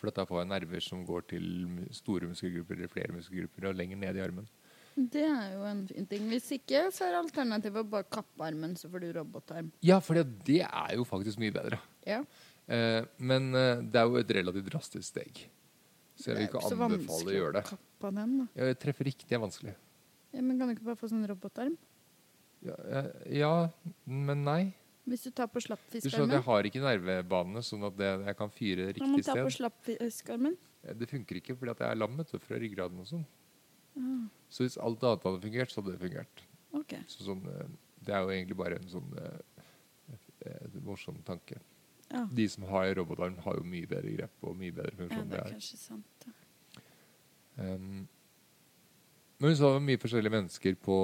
Speaker 1: For at da får jeg nerver som går til mu- store muskelgrupper eller flere muskelgrupper og lenger ned i armen.
Speaker 2: Det er jo en fin ting. Hvis ikke, så er alternativet å bare kappe armen, så får du robotarm.
Speaker 1: Ja, for det, det er jo faktisk mye bedre.
Speaker 2: Ja.
Speaker 1: Eh, men eh, det er jo et relativt drastisk steg. Så jeg vil ikke
Speaker 2: så
Speaker 1: anbefale å gjøre det.
Speaker 2: vanskelig å kappe den, da.
Speaker 1: Ja, jeg treffer riktig er vanskelig.
Speaker 2: Ja, men kan du ikke bare få sånn robotarm?
Speaker 1: Ja, eh, ja, men nei.
Speaker 2: Hvis du tar på
Speaker 1: Du skjønner at
Speaker 2: slappfiskarmen.
Speaker 1: jeg har ikke nervebanene, sånn at det, jeg kan fyre
Speaker 2: Ja, men
Speaker 1: riktig
Speaker 2: ta på
Speaker 1: sted.
Speaker 2: slappfiskarmen.
Speaker 1: Eh, Det funker ikke fordi at jeg er lam vet du, fra ryggraden og sånn. Så hvis alt annet hadde fungert, så hadde det fungert.
Speaker 2: Ah, OK.
Speaker 1: Så sånn, eh, det er jo egentlig bare en sånn eh, eh, morsom tanke.
Speaker 2: Ja.
Speaker 1: De som har robotarm, har jo mye bedre grep og mye bedre
Speaker 2: ja,
Speaker 1: funksjon.
Speaker 2: det
Speaker 1: det
Speaker 2: er
Speaker 1: er.
Speaker 2: kanskje sant. da.
Speaker 1: Um, men hun så mye forskjellige mennesker på,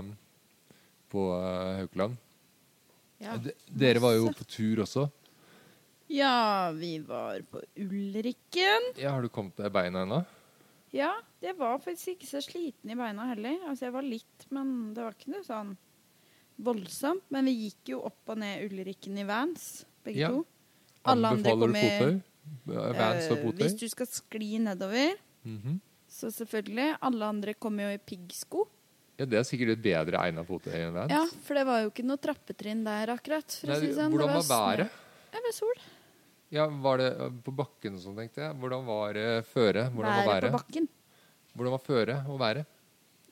Speaker 1: um, på eh, Haukeland.
Speaker 2: Ja.
Speaker 1: D- Dere var jo
Speaker 2: masse.
Speaker 1: på tur også.
Speaker 2: ja, vi var på Ulrikken.
Speaker 1: Ja, har du kommet deg i beina ennå?
Speaker 2: Ja, jeg var faktisk ikke så sliten i beina heller. Altså, jeg var litt, men det var ikke noe sånn voldsomt. Men vi gikk jo opp og ned Ulrikken i vans, begge
Speaker 1: Ja.
Speaker 2: to. Alle andre
Speaker 1: Anbefaler du
Speaker 2: kommer-
Speaker 1: fottøy? Vans og
Speaker 2: Eh,
Speaker 1: fottøy?
Speaker 2: hvis du skal skli nedover,
Speaker 1: Mhm.
Speaker 2: så selvfølgelig. Alle andre kommer jo i piggsko.
Speaker 1: Ja, det er sikkert et bedre egnet fottøy enn vans.
Speaker 2: Ja, for det var jo ikke noe trappetrinn der akkurat. For
Speaker 1: Nei,
Speaker 2: å si det sånn.
Speaker 1: hvordan var
Speaker 2: det snø.
Speaker 1: været?
Speaker 2: Ja, det var sol.
Speaker 1: Ja, var det eh, på bakken og sånn, tenkte jeg. Hvordan var eh, føre? Hvordan var
Speaker 2: Været på
Speaker 1: været?
Speaker 2: bakken.
Speaker 1: Hvordan var føre og været?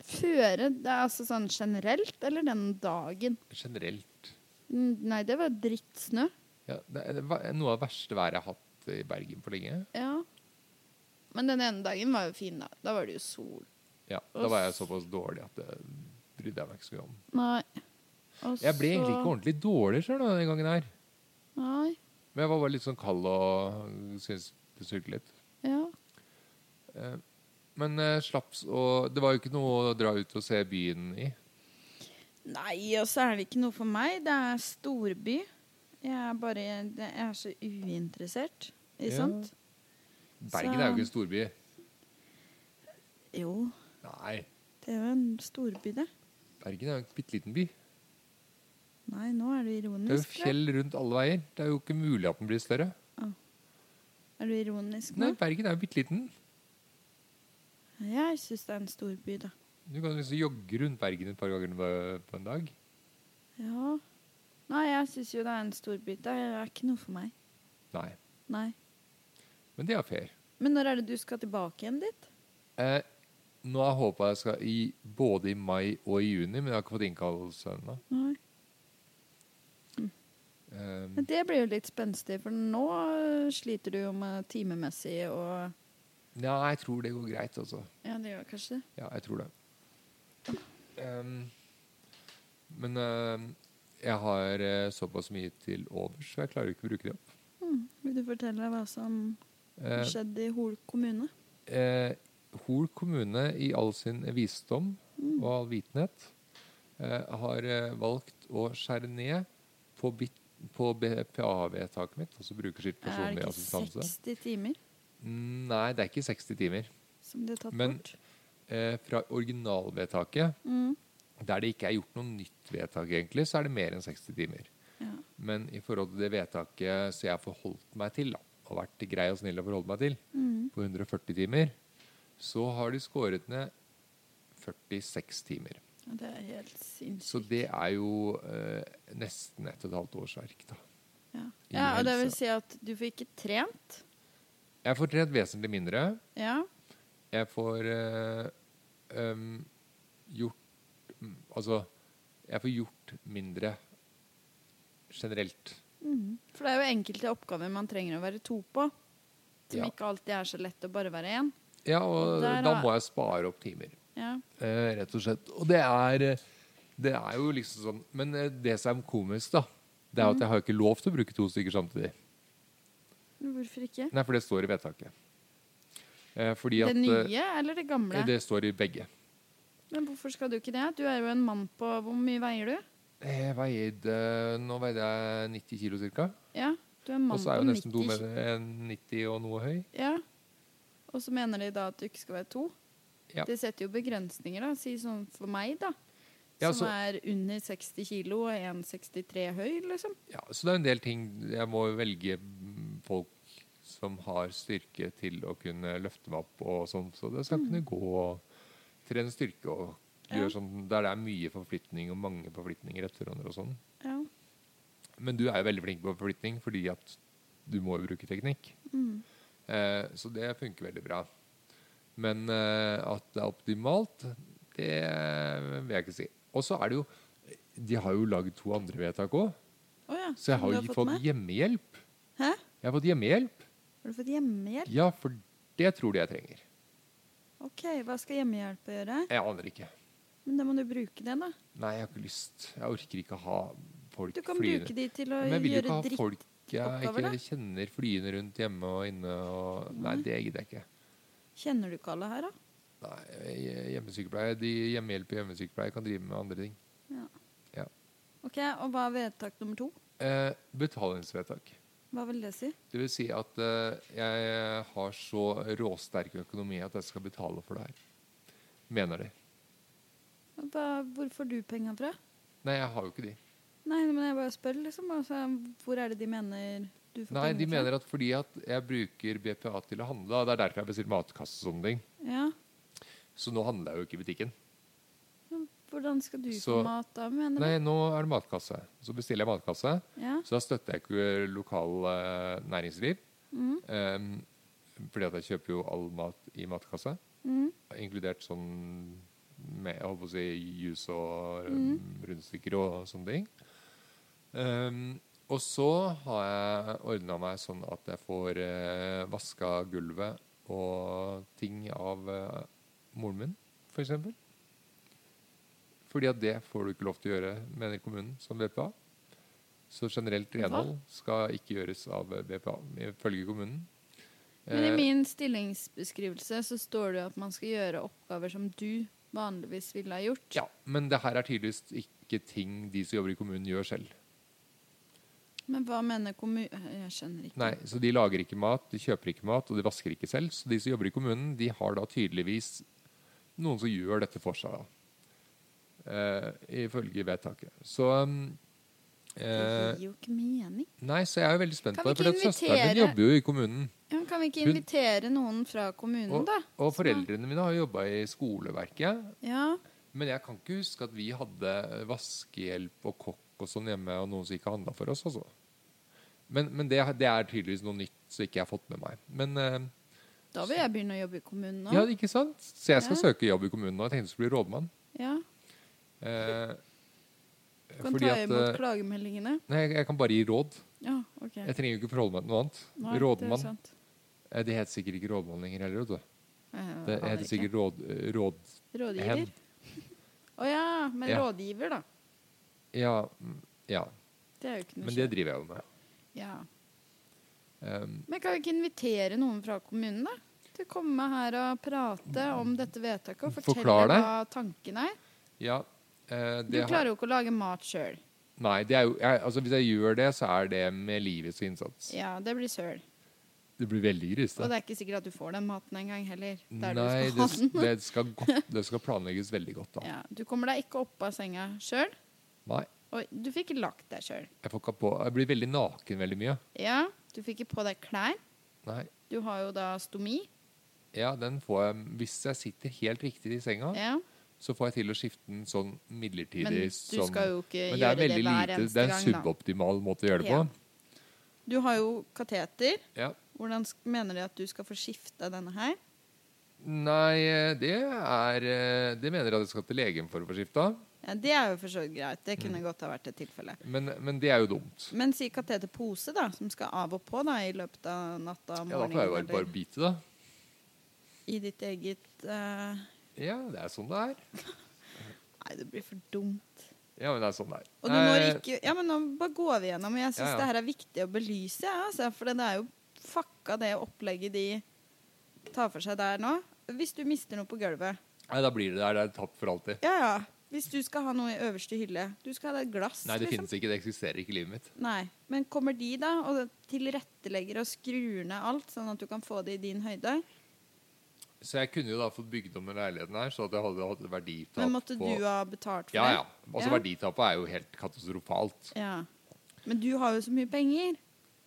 Speaker 2: Føre, det er altså sånn generelt, eller den dagen?
Speaker 1: Generelt.
Speaker 2: Mm, Nei, det var drittsnø.
Speaker 1: Ja, det er det var noe av det verste været jeg har hatt i Bergen på lenge.
Speaker 2: Ja. Men den ene dagen var jo fin, da. Da var det jo sol.
Speaker 1: Ja, Da var jeg såpass dårlig at det brydde jeg meg ikke så mye om.
Speaker 2: Nei. Og
Speaker 1: Jeg ble egentlig ikke ordentlig dårlig sjøl denne gangen her.
Speaker 2: Nei.
Speaker 1: Men jeg var bare litt sånn kald og syntes det sugde litt.
Speaker 2: Ja.
Speaker 1: Eh, Men eh, slaps og Det var jo ikke noe å dra ut og se byen i.
Speaker 2: Nei, og så er det ikke noe for meg. Det er storby. Jeg er bare Jeg er så uinteressert i
Speaker 1: Ja.
Speaker 2: sånt.
Speaker 1: Bergen er jo ikke en storby.
Speaker 2: Jo,
Speaker 1: Nei.
Speaker 2: det er jo en storby, det.
Speaker 1: Bergen er jo en bitte liten by.
Speaker 2: Nei, nå er du ironisk.
Speaker 1: Det er jo
Speaker 2: tror jeg.
Speaker 1: fjell rundt alle veier. Det er jo ikke mulig at den blir større.
Speaker 2: Er du ironisk nå?
Speaker 1: Nei, Bergen er jo bitte liten.
Speaker 2: Jeg syns det er en storby, da.
Speaker 1: Du kan liksom jogge rundt Bergen et par ganger på- på en dag.
Speaker 2: Ja. Nei, jeg syns jo det er en storby. Det er ikke noe for meg.
Speaker 1: Nei.
Speaker 2: Nei.
Speaker 1: Men det er fair.
Speaker 2: Men når er det du skal tilbake igjen dit?
Speaker 1: Eh, nå har jeg håpa jeg skal i både i mai og i juni, men jeg har ikke fått innkallelse ennå.
Speaker 2: Nei.
Speaker 1: Eh,
Speaker 2: Men det blir jo litt spenstig, for nå øh, sliter du jo med timemessig og
Speaker 1: ja, jeg tror det går greit, altså.
Speaker 2: Ja, det gjør kanskje det.
Speaker 1: Ja, jeg tror det. Ehm, men ehm, jeg har eh, såpass mye til overs, så jeg klarer ikke å bruke det opp.
Speaker 2: Mm. Vil du fortelle hva som
Speaker 1: Eh,
Speaker 2: skjedde i Hol kommune?
Speaker 1: eh, Hol kommune i all sin visdom
Speaker 2: Hmm.
Speaker 1: og all vitenhet eh, har eh, valgt å skjære ned på, bit- på BPA-vedtaket mitt, altså brukerstyrt
Speaker 2: Er
Speaker 1: personlig
Speaker 2: det ikke
Speaker 1: assistanse.
Speaker 2: 60 timer
Speaker 1: Mm, Nei, det er ikke 60 timer.
Speaker 2: som de har tatt
Speaker 1: Men-
Speaker 2: bort?
Speaker 1: Eh, fra originalvedtaket,
Speaker 2: Mm.
Speaker 1: der det ikke er gjort noe nytt vedtak, egentlig, så er det mer enn 60 timer.
Speaker 2: Ja.
Speaker 1: Men i forhold til det vedtaket som jeg har forholdt meg til, da, og vært grei og snill å forholde meg til,
Speaker 2: Mm.
Speaker 1: på 140 timer, så har de skåret ned 46 timer.
Speaker 2: Ja, Det er helt sinnssykt.
Speaker 1: Så det er jo eh, nesten ett og et halvt årsverk, da.
Speaker 2: ja.
Speaker 1: i
Speaker 2: ja, og det vil
Speaker 1: helse.
Speaker 2: si at du får ikke trent.
Speaker 1: Jeg får trent vesentlig mindre.
Speaker 2: Ja.
Speaker 1: Jeg får eh, em, gjort mm, Altså, jeg får gjort mindre generelt.
Speaker 2: Mhm. For det er jo enkelte oppgaver man trenger å være to på. Som
Speaker 1: Ja.
Speaker 2: ikke alltid er så lett å bare være én.
Speaker 1: Ja, og
Speaker 2: Der
Speaker 1: da
Speaker 2: har-
Speaker 1: må jeg spare opp timer.
Speaker 2: Ja.
Speaker 1: Eh, rett og slett. Og det er, eh, det er jo liksom sånn Men eh, det som er komisk, da, det er at jeg har ikke lov til å bruke to stykker samtidig.
Speaker 2: Men Hvorfor ikke?
Speaker 1: Nei, for det står i vedtaket. Eh, fordi
Speaker 2: Det
Speaker 1: at eh,
Speaker 2: nye eller det gamle?
Speaker 1: Det står i begge.
Speaker 2: Men hvorfor skal du ikke det? Du er jo en mann på Hvor mye veier du?
Speaker 1: Jeg veide, nå veide jeg 90 kilo ca.
Speaker 2: Ja, du er en
Speaker 1: Og
Speaker 2: mann
Speaker 1: så er jeg jo nesten
Speaker 2: på
Speaker 1: to
Speaker 2: 90
Speaker 1: meter, eh, 90 og noe høy.
Speaker 2: Ja. Og så mener de da at du ikke skal være to.
Speaker 1: Ja.
Speaker 2: Det setter jo begrensninger, da. Si sånn for meg, da.
Speaker 1: Ja,
Speaker 2: som
Speaker 1: så-
Speaker 2: er under 60 kilo og 1,63 høy, liksom.
Speaker 1: Ja, så det er en del ting Jeg må jo velge mm, folk som har styrke til å kunne løfte meg opp og sånn. Så det skal kunne gå og trene styrke og
Speaker 2: Ja.
Speaker 1: gjøre sånn der det er mye forflytning og mange forflytninger etter hverandre og sånn.
Speaker 2: Ja.
Speaker 1: Men du er jo veldig flink på forflytning fordi at du må jo bruke teknikk.
Speaker 2: Mm.
Speaker 1: Eh, så det funker veldig bra. Men eh, at det er optimalt, det eh, vil jeg ikke si. Og så er det jo De har jo lagd to andre vedtak òg,
Speaker 2: Å ja.
Speaker 1: så jeg har
Speaker 2: du
Speaker 1: jo fått, fått
Speaker 2: med?
Speaker 1: hjemmehjelp.
Speaker 2: Hæ?
Speaker 1: Jeg har fått hjemmehjelp.
Speaker 2: Har du fått hjemmehjelp?
Speaker 1: Ja, for det tror de jeg trenger.
Speaker 2: OK, hva skal hjemmehjelp gjøre?
Speaker 1: Jeg aner ikke.
Speaker 2: Men da må du bruke det, da.
Speaker 1: Nei, jeg har ikke lyst. Jeg orker ikke ha folk
Speaker 2: Du kan
Speaker 1: flyende.
Speaker 2: bruke de til å
Speaker 1: Men jeg vil jo ikke
Speaker 2: gjøre
Speaker 1: ha
Speaker 2: dritt.
Speaker 1: folk jeg
Speaker 2: drittoppgaver, da.
Speaker 1: ikke kjenner flyende rundt hjemme og inne og Nei, det gidder jeg ikke.
Speaker 2: Kjenner du ikke alle her, da?
Speaker 1: Nei, hjemmesykepleie De hjemmehjelp i hjemmesykepleie kan drive med andre ting.
Speaker 2: Ja.
Speaker 1: Ja.
Speaker 2: OK, og hva er vedtak nummer to?
Speaker 1: Eh, betalingsvedtak.
Speaker 2: Hva vil det si?
Speaker 1: Det vil si at eh, jeg har så råsterk økonomi at jeg skal betale for det her. Mener de.
Speaker 2: Hva, hvor får du penga fra?
Speaker 1: Nei, jeg har jo ikke de.
Speaker 2: Nei, men jeg bare spør, liksom. Altså, hvor er det de mener du får
Speaker 1: Nei, De
Speaker 2: penger fra?
Speaker 1: mener at fordi at jeg bruker BPA til å handle, og det er derfor jeg bestiller matkasse og sånne ting,
Speaker 2: Ja.
Speaker 1: så nå handler jeg jo ikke i butikken.
Speaker 2: Hvordan skal du
Speaker 1: Så-
Speaker 2: få mat da, mener
Speaker 1: Nei, nå er det matkasse. Så bestiller jeg matkasse.
Speaker 2: du? Ja.
Speaker 1: Så da støtter jeg ikke lokal eh, næringsliv.
Speaker 2: Mm.
Speaker 1: em, fordi at jeg kjøper jo all mat i matkasse.
Speaker 2: Mm.
Speaker 1: Inkludert sånn med jeg holdt på å si juice og
Speaker 2: Mm.
Speaker 1: um, rundstykker og sånne ting. Em, og så har jeg ordna meg sånn at jeg får uh, vaska gulvet og ting av eh, moren min, f.eks. For eksempel. Fordi at det får du ikke lov til å gjøre, mener kommunen, som BPA. Så generelt renhold skal ikke gjøres av BPA, ifølge kommunen.
Speaker 2: Men i
Speaker 1: Eh,
Speaker 2: min stillingsbeskrivelse så står det jo at man skal gjøre oppgaver som du vanligvis ville ha gjort.
Speaker 1: Ja, men det her er tydeligvis ikke ting de som jobber i kommunen gjør selv.
Speaker 2: Men hva mener kommu... Jeg skjønner ikke.
Speaker 1: Nei, Så de lager ikke mat, de kjøper ikke mat, og de vasker ikke selv. Så de som jobber i kommunen, de har da tydeligvis noen som gjør dette for seg, da. Eh, ifølge vedtaket. Så um,
Speaker 2: Det
Speaker 1: eh,
Speaker 2: gir jo ikke mening.
Speaker 1: Nei, så jeg er jo veldig spent
Speaker 2: Kan
Speaker 1: på det.
Speaker 2: vi
Speaker 1: For
Speaker 2: ikke
Speaker 1: søsteren min
Speaker 2: invitere-
Speaker 1: jobber jo i kommunen.
Speaker 2: Ja, men kan vi ikke
Speaker 1: Hun-
Speaker 2: invitere noen fra kommunen,
Speaker 1: Og,
Speaker 2: da?
Speaker 1: og foreldrene mine har jobba i skoleverket.
Speaker 2: Ja.
Speaker 1: Men jeg kan ikke huske at vi hadde vaskehjelp og kokk og sånn hjemme, og noen som ikke handla for oss, altså. Men, men det, det er tydeligvis noe nytt som ikke jeg har fått med meg. Men eh,
Speaker 2: Da vil jeg begynne å jobbe i kommunen nå.
Speaker 1: ja, ikke sant? Så jeg skal
Speaker 2: Ja.
Speaker 1: søke jobb i kommunen nå. Jeg tenkte jeg skulle bli rådmann.
Speaker 2: Ja.
Speaker 1: Eh,
Speaker 2: Du kan ta imot klagemeldingene.
Speaker 1: Nei, jeg, jeg kan bare gi råd.
Speaker 2: Ja, OK.
Speaker 1: Jeg trenger jo ikke forholde meg til noe annet.
Speaker 2: Nei, Det, sånn. er
Speaker 1: rådmann.
Speaker 2: sant.
Speaker 1: Eh, Det heter sikkert ikke rådmann lenger heller, vet du. Det
Speaker 2: Jeg aner
Speaker 1: heter
Speaker 2: Eh, ikke.
Speaker 1: sikkert råd... eh, råd hen.
Speaker 2: Rådgiver? Å ja, men
Speaker 1: Ja.
Speaker 2: rådgiver, da.
Speaker 1: Ja, mm, ja.
Speaker 2: Det er jo ikke noe
Speaker 1: Men det
Speaker 2: skjønt.
Speaker 1: driver jeg jo med.
Speaker 2: ja.
Speaker 1: Um,
Speaker 2: Men kan vi ikke invitere noen fra kommunen, da? Til å komme her og prate om dette vedtaket og fortelle
Speaker 1: Forklar det.
Speaker 2: hva tanken er.
Speaker 1: ja. eh,
Speaker 2: Du
Speaker 1: det har-
Speaker 2: klarer jo ikke å lage mat sjøl.
Speaker 1: Nei, det er jo, jeg, altså hvis jeg gjør det, så er det med livets innsats.
Speaker 2: Ja, det blir søl.
Speaker 1: Det blir veldig
Speaker 2: Og
Speaker 1: grisete.
Speaker 2: det er ikke sikkert at du får den maten engang heller. Der
Speaker 1: Nei,
Speaker 2: du
Speaker 1: det,
Speaker 2: skal ha den.
Speaker 1: det, skal godt, det skal planlegges veldig godt, da.
Speaker 2: Ja, du kommer deg ikke opp av senga sjøl,
Speaker 1: Nei,
Speaker 2: og du fikk ikke lagt deg sjøl.
Speaker 1: jeg får ikke på Jeg blir veldig naken veldig mye.
Speaker 2: Ja, du fikk ikke på deg klær.
Speaker 1: Nei.
Speaker 2: Du har jo da stomi.
Speaker 1: Ja, den får jeg Hvis jeg sitter helt riktig i senga,
Speaker 2: Ja.
Speaker 1: så får jeg til å skifte den sånn midlertidig.
Speaker 2: Men du
Speaker 1: sånn,
Speaker 2: skal jo ikke
Speaker 1: men det
Speaker 2: gjøre
Speaker 1: er
Speaker 2: det
Speaker 1: veldig
Speaker 2: hver
Speaker 1: lite Det
Speaker 2: eneste
Speaker 1: er en
Speaker 2: gang, da.
Speaker 1: suboptimal måte å gjøre det
Speaker 2: Ja.
Speaker 1: på.
Speaker 2: Du har jo kateter.
Speaker 1: Ja.
Speaker 2: Hvordan sk- mener de at du skal få skifta denne her?
Speaker 1: Nei, det er eh, Det mener jeg at jeg skal til legen for å få skifta,
Speaker 2: Ja, det er jo for så vidt greit. Det kunne
Speaker 1: Mm.
Speaker 2: godt ha vært et tilfelle.
Speaker 1: men, men det er jo dumt.
Speaker 2: Men si kateterpose, da, som skal av og på da, i løpet av natta
Speaker 1: Ja, da
Speaker 2: morgenen,
Speaker 1: får jeg jo bare,
Speaker 2: eller
Speaker 1: bare bite, da.
Speaker 2: i ditt eget eh,
Speaker 1: Ja, det er sånn det er.
Speaker 2: Nei, det blir for dumt.
Speaker 1: Ja, men det er sånn det er.
Speaker 2: Og du når
Speaker 1: Eh,
Speaker 2: ikke Ja, men nå bare går vi gjennom. Jeg
Speaker 1: ja,
Speaker 2: syns
Speaker 1: ja.
Speaker 2: det her er viktig å belyse, ja, altså, for det er jo fucka det opplegget de tar for seg der nå. Hvis du mister noe på gulvet
Speaker 1: Nei, da blir det der. Det er tapt for alltid.
Speaker 2: Ja, ja. Hvis du skal ha noe i øverste hylle Du skal ha deg et glass,
Speaker 1: Nei, det
Speaker 2: liksom.
Speaker 1: finnes ikke. Det eksisterer ikke i livet mitt.
Speaker 2: Nei. Men kommer de, da, og tilrettelegger og skrur ned alt, sånn at du kan få det i din høyde?
Speaker 1: Så jeg kunne jo da fått bygd om den leiligheten her, så at jeg hadde hatt verditap
Speaker 2: Men måtte
Speaker 1: på
Speaker 2: du ha betalt for
Speaker 1: Ja,
Speaker 2: det?
Speaker 1: ja. Altså,
Speaker 2: Ja.
Speaker 1: verditapet er jo helt katastrofalt.
Speaker 2: Ja. Men du har jo så mye penger.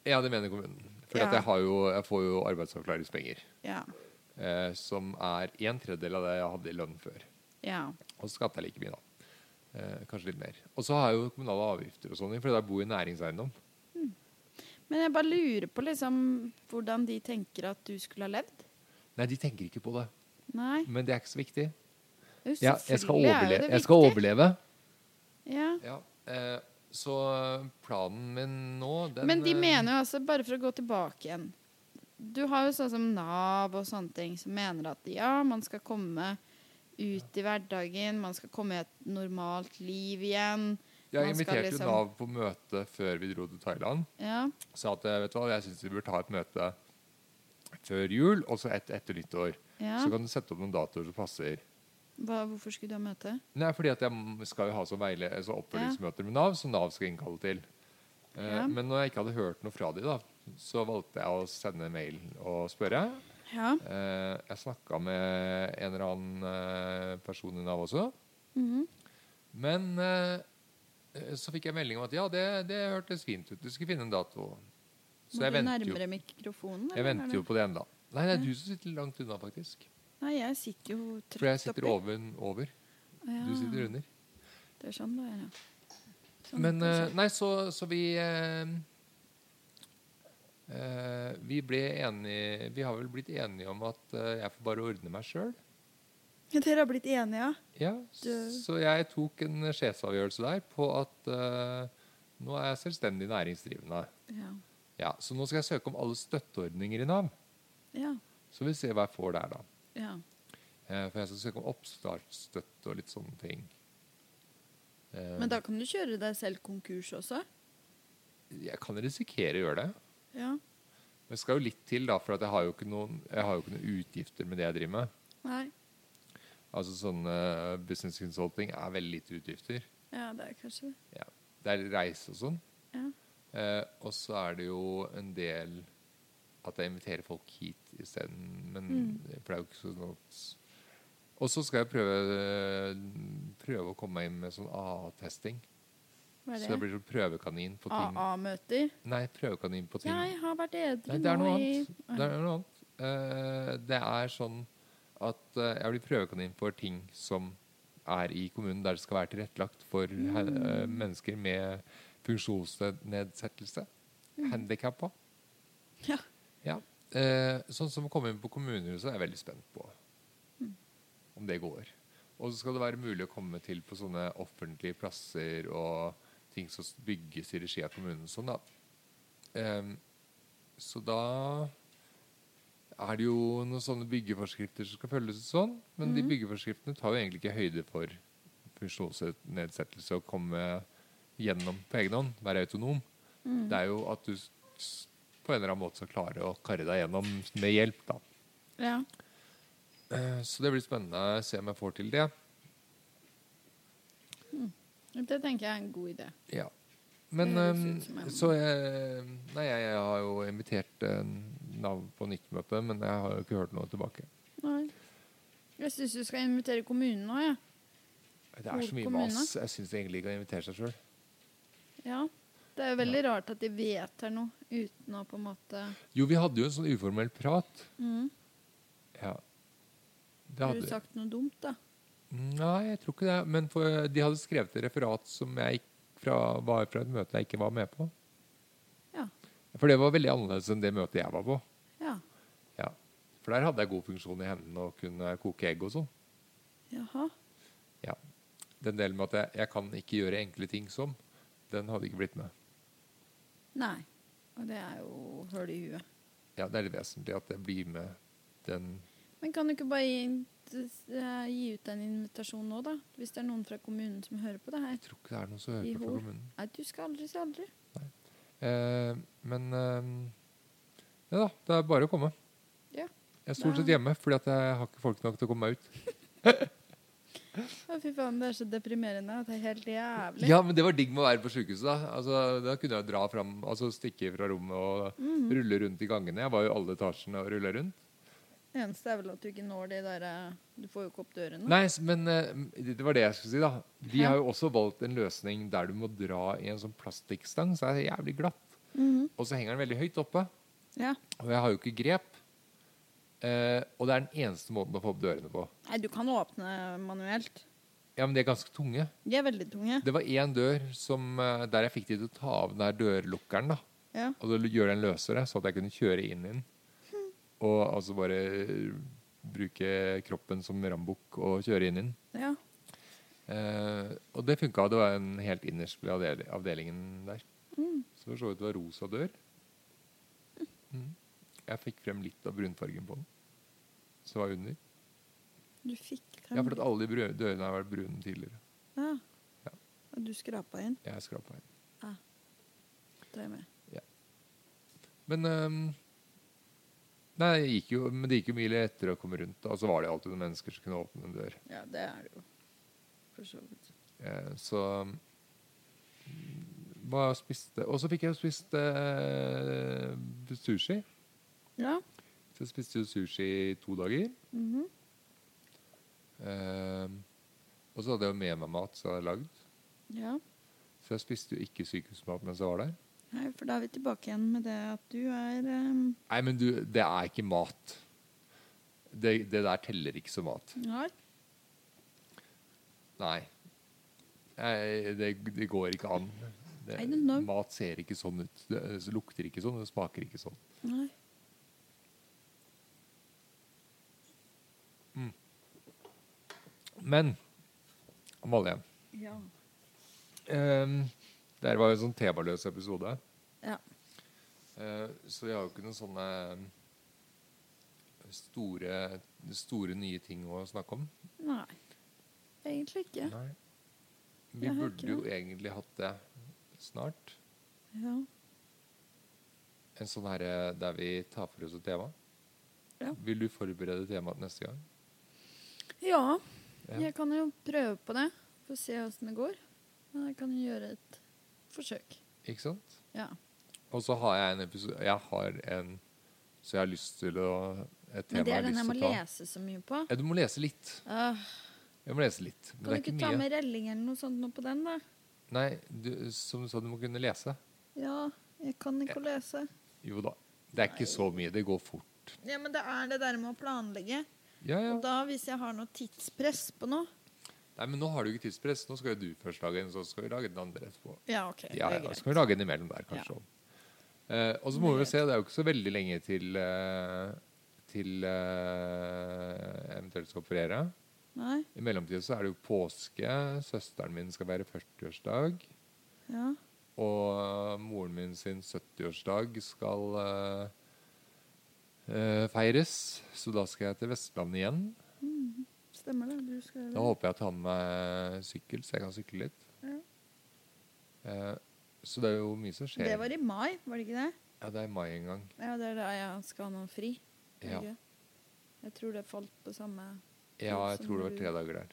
Speaker 1: Ja, det mener kommunen. For
Speaker 2: Ja.
Speaker 1: at jeg, har jo, jeg får jo arbeidsavklaringspenger.
Speaker 2: Ja.
Speaker 1: Eh, som er en tredjedel av det jeg hadde i lønn før.
Speaker 2: Ja.
Speaker 1: Og så skatter jeg like mye, da. Eh, kanskje litt mer. Og så har jeg jo kommunale avgifter og sånn, fordi jeg bor i næringseiendom.
Speaker 2: Men jeg bare lurer på liksom hvordan de tenker at du skulle ha levd.
Speaker 1: Nei, de tenker ikke på det.
Speaker 2: Nei.
Speaker 1: Men det er ikke så viktig.
Speaker 2: Jo,
Speaker 1: Ja, jeg skal
Speaker 2: selvfølgelig er jo
Speaker 1: overleve.
Speaker 2: det
Speaker 1: Jeg skal
Speaker 2: viktig.
Speaker 1: overleve.
Speaker 2: Ja.
Speaker 1: Ja, eh, så planen min nå den,
Speaker 2: Men de
Speaker 1: eh,
Speaker 2: mener jo altså, bare for å gå tilbake igjen Du har jo sånn som Nav og sånne ting som mener at ja, man skal komme ut i hverdagen, man skal komme i et normalt liv iggen.
Speaker 1: Jeg
Speaker 2: man skal
Speaker 1: inviterte jo
Speaker 2: liksom-
Speaker 1: Nav på møte før vi dro til Thailand.
Speaker 2: Ja.
Speaker 1: Sa at eh, vet du hva, jeg syns vi bør ta et møte før jul, og så et etter nyttår.
Speaker 2: ja.
Speaker 1: Så kan du sette opp noen datoer som passer.
Speaker 2: Hva, hvorfor skulle du ha møte?
Speaker 1: Nei, fordi at jeg m- skal jo ha så, veile, eh, så oppfølgingsmøter med Nav, som Nav skal innkalle til. Eh,
Speaker 2: Ja.
Speaker 1: Men når jeg ikke hadde hørt noe fra de da, så valgte jeg å sende mail og spørre.
Speaker 2: Ja.
Speaker 1: Eh, jeg snakka med
Speaker 2: mhm.
Speaker 1: en eller annen eh, person i Nav også. Men eh, eh, så fikk jeg melding om at ja, det, det hørtes fint ut. Du skulle finne en dato. Så
Speaker 2: Må
Speaker 1: jeg
Speaker 2: du
Speaker 1: venter jo,
Speaker 2: nærmere mikrofonen?
Speaker 1: jeg
Speaker 2: eller?
Speaker 1: venter jo på det ennå. Nei, det er du som sitter langt unna, faktisk.
Speaker 2: Nei, jeg sitter jo trøtt
Speaker 1: For jeg sitter
Speaker 2: oppi.
Speaker 1: over, over.
Speaker 2: Ja,
Speaker 1: Du sitter under.
Speaker 2: Det er sånn det er, ja. Sånn
Speaker 1: Men
Speaker 2: det er
Speaker 1: eh, Nei, så, så vi eh, eh, Vi ble enige Vi har vel blitt enige om at eh, jeg får bare ordne meg sjøl.
Speaker 2: sånn. Dere har blitt enige, ja?
Speaker 1: Ja,
Speaker 2: Du-
Speaker 1: så jeg tok en sjefsavgjørelse der på at eh, nå er jeg selvstendig næringsdrivende.
Speaker 2: Ja.
Speaker 1: Ja, Så nå skal jeg søke om alle støtteordninger i Nav.
Speaker 2: ja.
Speaker 1: Så vi ser hva jeg får der, da.
Speaker 2: ja.
Speaker 1: Eh, for jeg skal søke om oppstartsstøtte og litt sånne ting. Eh,
Speaker 2: Men da kan du kjøre deg selv konkurs også?
Speaker 1: Jeg kan risikere å gjøre det.
Speaker 2: Ja.
Speaker 1: Men det skal jo litt til, da, for at jeg har jo ikke noen, jeg har jo ikke noen utgifter med det jeg driver med.
Speaker 2: Nei.
Speaker 1: Altså sånne business consulting er veldig lite utgifter.
Speaker 2: Ja, det er kanskje det.
Speaker 1: Ja. Det er reise og sånn.
Speaker 2: Ja.
Speaker 1: Eh, og så er det jo en del at jeg inviterer folk hit isteden. Men
Speaker 2: Mm.
Speaker 1: for det er jo ikke sånn at Og så skal jeg prøve, prøve å komme meg inn med sånn AA-testing.
Speaker 2: Hva
Speaker 1: Så jeg
Speaker 2: er det?
Speaker 1: blir sånn prøvekanin på ting.
Speaker 2: AA-møter?
Speaker 1: Nei, prøvekanin på ting.
Speaker 2: Jeg har vært edru
Speaker 1: Nei, det er
Speaker 2: nå
Speaker 1: noe
Speaker 2: i
Speaker 1: annet. Det er noe annet. Eh, det er sånn at eh, jeg blir prøvekanin for ting som er i kommunen, der det skal være tilrettelagt for he- eh, mennesker med funksjonsnedsettelse. Handikappa.
Speaker 2: Ja.
Speaker 1: Ja. Eh, sånn som å komme inn på kommunehuset er jeg veldig spent på. Om det går. Og så skal det være mulig å komme til på sånne offentlige plasser og ting som bygges i regi av kommunen. og Sånn, da. Ehm, så da er det jo noen sånne byggeforskrifter som skal følges og sånn. Men
Speaker 2: Mhm.
Speaker 1: de byggeforskriftene tar jo egentlig ikke høyde for funksjonsnedsettelse og komme gjennom på egen hånd, være autonom.
Speaker 2: Mm.
Speaker 1: Det er jo at du s- s- på en eller annen måte skal klare å karre deg gjennom med hjelp, da.
Speaker 2: Ja.
Speaker 1: Eh, Så det blir spennende å se om jeg får til det.
Speaker 2: Det tenker jeg er en god idé.
Speaker 1: Ja. Men
Speaker 2: Det høres
Speaker 1: ehm,
Speaker 2: ut som en-
Speaker 1: så jeg, Nei, jeg, jeg har jo invitert eh, Nav på nytt møte, men jeg har jo ikke hørt noe tilbake.
Speaker 2: Nei. Jeg syns du skal invitere kommunen nå, jeg.
Speaker 1: Det er så mye
Speaker 2: Kommune?
Speaker 1: mas. Jeg syns egentlig ikke å invitere seg sjøl.
Speaker 2: Ja. ja. Det er jo veldig rart at de vedtar noe uten å på en måte
Speaker 1: Jo, vi hadde jo en sånn uformell prat.
Speaker 2: Mhm.
Speaker 1: Ja. Det
Speaker 2: Har du
Speaker 1: hadde vi.
Speaker 2: sagt noe dumt, da?
Speaker 1: Nei, jeg tror ikke det. Men for, de hadde skrevet et referat som jeg gikk fra, var fra et møte jeg ikke var med på.
Speaker 2: Ja.
Speaker 1: For det var veldig annerledes enn det møtet jeg var på.
Speaker 2: Ja.
Speaker 1: Ja. For der hadde jeg god funksjon i hendene og kunne koke egg og sånn.
Speaker 2: Jaha.
Speaker 1: Ja. Den delen med at jeg, jeg kan ikke gjøre enkle ting som, den hadde ikke blitt med.
Speaker 2: Nei. Og det er jo høl i huet.
Speaker 1: Ja, Det er det vesentlige at jeg blir med den
Speaker 2: Men kan du ikke bare gi, eh, gi ut en invitasjon nå, da? Hvis det er noen fra kommunen som hører på det her.
Speaker 1: Jeg tror ikke det er noen som hører
Speaker 2: I
Speaker 1: på fra
Speaker 2: hor.
Speaker 1: kommunen.
Speaker 2: Nei, du skal aldri si aldri.
Speaker 1: Eh, men eh, ja da, det er bare å komme.
Speaker 2: Ja.
Speaker 1: Jeg er stort
Speaker 2: Da-
Speaker 1: sett hjemme, fordi at jeg har ikke folk nok til å komme meg ut.
Speaker 2: Å, fy faen, det er så deprimerende. at Det er helt jævlig.
Speaker 1: Ja, men det var digg med å være på sykehuset. Da Altså, da kunne jeg dra fram, altså stikke fra rommet og
Speaker 2: Mhm. Mm.
Speaker 1: rulle rundt i gangene. Jeg var jo i alle etasjene og rulla rundt.
Speaker 2: Det eneste er vel at du ikke når de der eh, Du får jo ikke opp dørene.
Speaker 1: Nei, s- men eh, det var det jeg skulle si, da. De
Speaker 2: Mm. Ja.
Speaker 1: har jo også valgt en løsning der du må dra i en sånn plastikkstang, så det er jævlig glatt.
Speaker 2: Mhm.
Speaker 1: Og så henger den veldig høyt oppe,
Speaker 2: Ja.
Speaker 1: og jeg har jo ikke grep. Eh, og det er den eneste måten å få opp dørene på.
Speaker 2: Nei, du kan åpne manuelt.
Speaker 1: Ja, men de er ganske tunge.
Speaker 2: De er veldig tunge.
Speaker 1: Det var én dør som, eh, der jeg fikk de til å ta av den der dørlukkeren. da.
Speaker 2: Ja.
Speaker 1: Og så gjøre den løsere, så at jeg kunne kjøre inn i den. Og altså bare bruke kroppen som rambukk og kjøre inn i den.
Speaker 2: ja.
Speaker 1: Eh, og det funka. Det var en helt innerst ved avdel avdelingen der. Så for så vidt det var rosa dør. Mm. Jeg fikk frem litt av brunfargen på den. Som var under.
Speaker 2: Du fikk
Speaker 1: Ja, for at alle de brø- dørene har vært brune tidligere.
Speaker 2: Ja.
Speaker 1: Ja.
Speaker 2: Og du skrapa inn.
Speaker 1: Jeg skrapa inn.
Speaker 2: Det er med.
Speaker 1: Men ehm, Nei, det gikk jo, men det gikk jo mye lettere å komme rundt. da. Og så var det alltid noen mennesker som kunne åpne en dør.
Speaker 2: Ja, det er det jo. For så vidt.
Speaker 1: Eh, så mm, hva jeg spiste Og så fikk jeg jo spist eh, sushi.
Speaker 2: Ja.
Speaker 1: Så jeg spiste jo sushi i to dager. Ehm,
Speaker 2: Mhm.
Speaker 1: Eh, og så hadde jeg jo med meg mat som jeg hadde lagd.
Speaker 2: ja.
Speaker 1: Så jeg spiste jo ikke sykehusmat mens jeg var der.
Speaker 2: Nei, for da er vi tilbake igjen med det at du er ehm,
Speaker 1: Nei, men du, det er ikke mat. Det, det der teller ikke som mat.
Speaker 2: Nei.
Speaker 1: Nei. Nei det, det går ikke an. Det,
Speaker 2: I don't know.
Speaker 1: mat ser ikke sånn ut. Det, det lukter ikke sånn, det smaker ikke sånn.
Speaker 2: Nei.
Speaker 1: Men Amalie,
Speaker 2: Ja.
Speaker 1: um, det her var jo en sånn temaløs episode.
Speaker 2: Ja.
Speaker 1: Eh, så jeg har jo ikke noen sånne eh, store, store nye ting å snakke om.
Speaker 2: Nei. Egentlig ikke.
Speaker 1: Nei. Vi
Speaker 2: Jeg har ikke
Speaker 1: burde jo egentlig hatt det snart.
Speaker 2: Ja.
Speaker 1: En sånn herre der vi tar for oss et tema.
Speaker 2: Ja.
Speaker 1: Vil du forberede temaet neste gang?
Speaker 2: ja.
Speaker 1: Ja.
Speaker 2: Jeg kan jo prøve på det, for å se åssen det går. Men jeg kan jo gjøre et forsøk.
Speaker 1: Ikke sant?
Speaker 2: Ja.
Speaker 1: Og så har jeg en episode Jeg har en Så jeg har lyst til å Et
Speaker 2: Men
Speaker 1: tema jeg
Speaker 2: det er
Speaker 1: har
Speaker 2: den
Speaker 1: lyst
Speaker 2: jeg må
Speaker 1: til å ta.
Speaker 2: lese så mye på.
Speaker 1: Ja, du må lese litt.
Speaker 2: Ah,
Speaker 1: Jeg må lese litt. Men
Speaker 2: kan du
Speaker 1: det er
Speaker 2: ikke
Speaker 1: ikke
Speaker 2: ta
Speaker 1: mye.
Speaker 2: med relling eller noe sånt nå på den, da?
Speaker 1: Nei, du, som du sa, du må kunne lese.
Speaker 2: Ja, jeg kan ikke lese.
Speaker 1: Jo da. Det er ikke så mye. Det går fort.
Speaker 2: Ja, men det er det der med å planlegge.
Speaker 1: Ja, ja.
Speaker 2: Og da, hvis jeg har noe tidspress på noe
Speaker 1: Nei, men nå har du ikke tidspress. Nå skal jo du først lage en, så skal vi lage den andre etterpå.
Speaker 2: Ja, OK.
Speaker 1: Ja,
Speaker 2: det er
Speaker 1: ja,
Speaker 2: greit.
Speaker 1: så kan vi lage en imellom der, kanskje. Eh, og så må vi jo se, det er jo ikke så veldig lenge til eh, Til eh, eventuelt skal operere.
Speaker 2: Nei?
Speaker 1: I mellomtiden så er det jo påske. Søsteren min skal være 40-årsdag.
Speaker 2: Ja.
Speaker 1: Og eh, moren min sin 70-årsdag skal eh, eh, feires. Så da skal jeg til Vestlandet igjen.
Speaker 2: Mm, Stemmer det. Du skal
Speaker 1: Da håper jeg at jeg tar med meg sykkel, så jeg kan sykle litt.
Speaker 2: Ja.
Speaker 1: Eh, så det er jo mye som skjer.
Speaker 2: Mm. Det var i mai, var det ikke det?
Speaker 1: Ja, det er i mai en gang.
Speaker 2: Ja, det er da jeg skal ha noe fri. er det
Speaker 1: Ja.
Speaker 2: ikke? Jeg tror det falt på samme
Speaker 1: Ja, jeg
Speaker 2: Som
Speaker 1: tror det var
Speaker 2: du-
Speaker 1: tre dager der.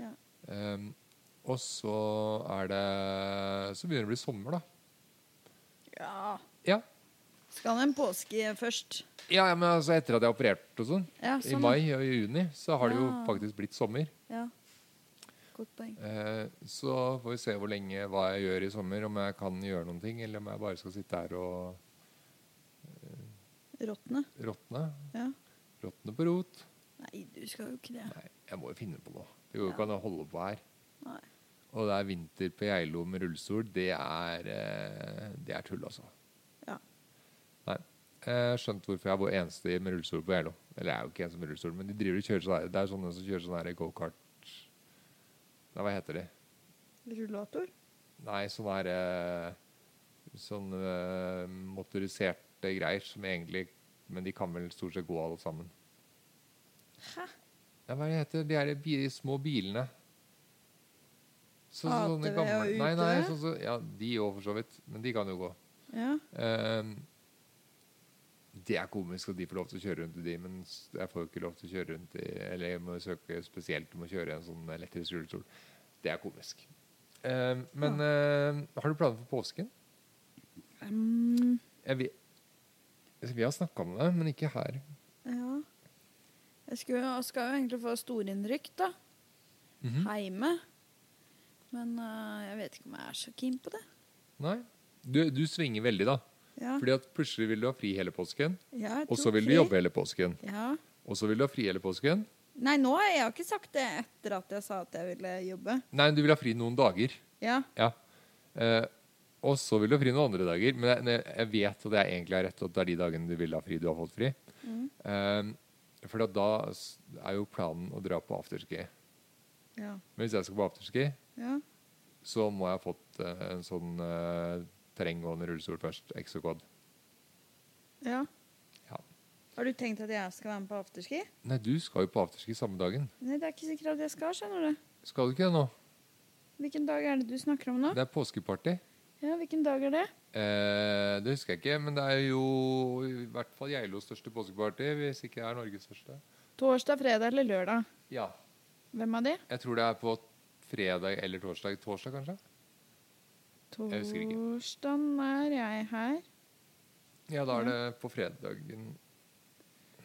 Speaker 2: Ja.
Speaker 1: Ehm, og så er det Så begynner det å bli sommer, da.
Speaker 2: Ja.
Speaker 1: Ja,
Speaker 2: Skal en påske først.
Speaker 1: ja, ja men altså etter at jeg har operert og sånn,
Speaker 2: Ja,
Speaker 1: i
Speaker 2: sånn.
Speaker 1: mai og i juni, så har det jo
Speaker 2: Ja.
Speaker 1: faktisk blitt sommer.
Speaker 2: Ja. Godt poeng.
Speaker 1: Eh, så får vi se hvor lenge hva jeg gjør i sommer, om jeg kan gjøre noen ting, eller om jeg bare skal sitte her og
Speaker 2: Råtne.
Speaker 1: råtne.
Speaker 2: Ja.
Speaker 1: Råtne på rot.
Speaker 2: Nei, du skal jo ikke det.
Speaker 1: Nei, jeg må jo finne på noe. Det går jo
Speaker 2: Ja.
Speaker 1: ikke an å holde på her.
Speaker 2: Nei.
Speaker 1: Og det er vinter på Geilo med rullestol. Det er, eh, det er tull, altså.
Speaker 2: Ja.
Speaker 1: Nei. Jeg skjønte hvorfor jeg var eneste med rullestol på Geilo. Eller jeg er jo ikke eneste med rullestol, men de driver og kjører sånn her. Det er sånne som kjører sånn her gokart Nei, hva heter de?
Speaker 2: Rullator?
Speaker 1: Nei, sånne her eh, Sånne eh, motoriserte greier som egentlig Men de kan vel stort sett gå alle sammen.
Speaker 2: Hæ?
Speaker 1: Nei, hva er det heter de her bi små bilene? Så,
Speaker 2: ATV
Speaker 1: sånne
Speaker 2: og
Speaker 1: gamle Nei, nei,
Speaker 2: UTV?
Speaker 1: sånn som- ja, de òg, for så vidt. Men de kan jo gå.
Speaker 2: Ja.
Speaker 1: Ehm, det er komisk at de får lov til å kjøre rundt i de, men s- jeg får jo ikke lov til å kjøre rundt i Eller jeg må jo søke spesielt om å kjøre en sånn elektrisk rullestol. Det er komisk. Ehm, men ehm, har du planer for påsken?
Speaker 2: Um,
Speaker 1: Jeg vet, altså, vi har snakka om det, men ikke her.
Speaker 2: ja. Jeg skulle, jeg skal jo egentlig få storinnrykk, da.
Speaker 1: Mhm.
Speaker 2: Heime. Men eh, jeg vet ikke om jeg er så keen på det.
Speaker 1: Nei. Du, du svinger veldig, da.
Speaker 2: Ja.
Speaker 1: Fordi at plutselig vil du ha fri hele påsken,
Speaker 2: Ja, jeg
Speaker 1: og
Speaker 2: tror
Speaker 1: så vil du
Speaker 2: fri.
Speaker 1: jobbe hele påsken.
Speaker 2: Ja.
Speaker 1: Og så vil du ha fri hele påsken.
Speaker 2: Nei, nå har jeg jo ikke sagt det etter at jeg sa at jeg ville jobbe.
Speaker 1: Nei, du vil ha fri noen dager.
Speaker 2: Ja.
Speaker 1: Ja. Eh, og så vil du ha fri noen andre dager. Men jeg, ne- jeg vet at jeg egentlig har rett, og at det er de dagene du vil ha fri, du har fått fri. Eh, for at da s- er jo planen å dra på afterski.
Speaker 2: Ja.
Speaker 1: Men hvis jeg skal på afterski,
Speaker 2: ja.
Speaker 1: så må jeg ha fått eh, en sånn eh, terrenggående rullestol først. Exocod.
Speaker 2: ja.
Speaker 1: Ja.
Speaker 2: Har du tenkt at jeg skal være med på afterski?
Speaker 1: Nei, du skal jo på afterski samme dagen.
Speaker 2: Nei, det er ikke sikkert at jeg skal, skjønner du.
Speaker 1: Skal du ikke det nå?
Speaker 2: Hvilken dag er det du snakker om nå?
Speaker 1: Det er påskeparty.
Speaker 2: Ja, hvilken dag er det?
Speaker 1: Eh, det husker jeg ikke, men det er jo i hvert fall Geilos største påskeparty, hvis ikke det er Norges største.
Speaker 2: Torsdag, fredag eller lørdag?
Speaker 1: Ja.
Speaker 2: Hvem av de?
Speaker 1: Jeg tror det er på fredag eller torsdag. Torsdag, kanskje? Jeg husker ikke.
Speaker 2: Torsdagen er jeg her.
Speaker 1: Ja, da er det på fredagen.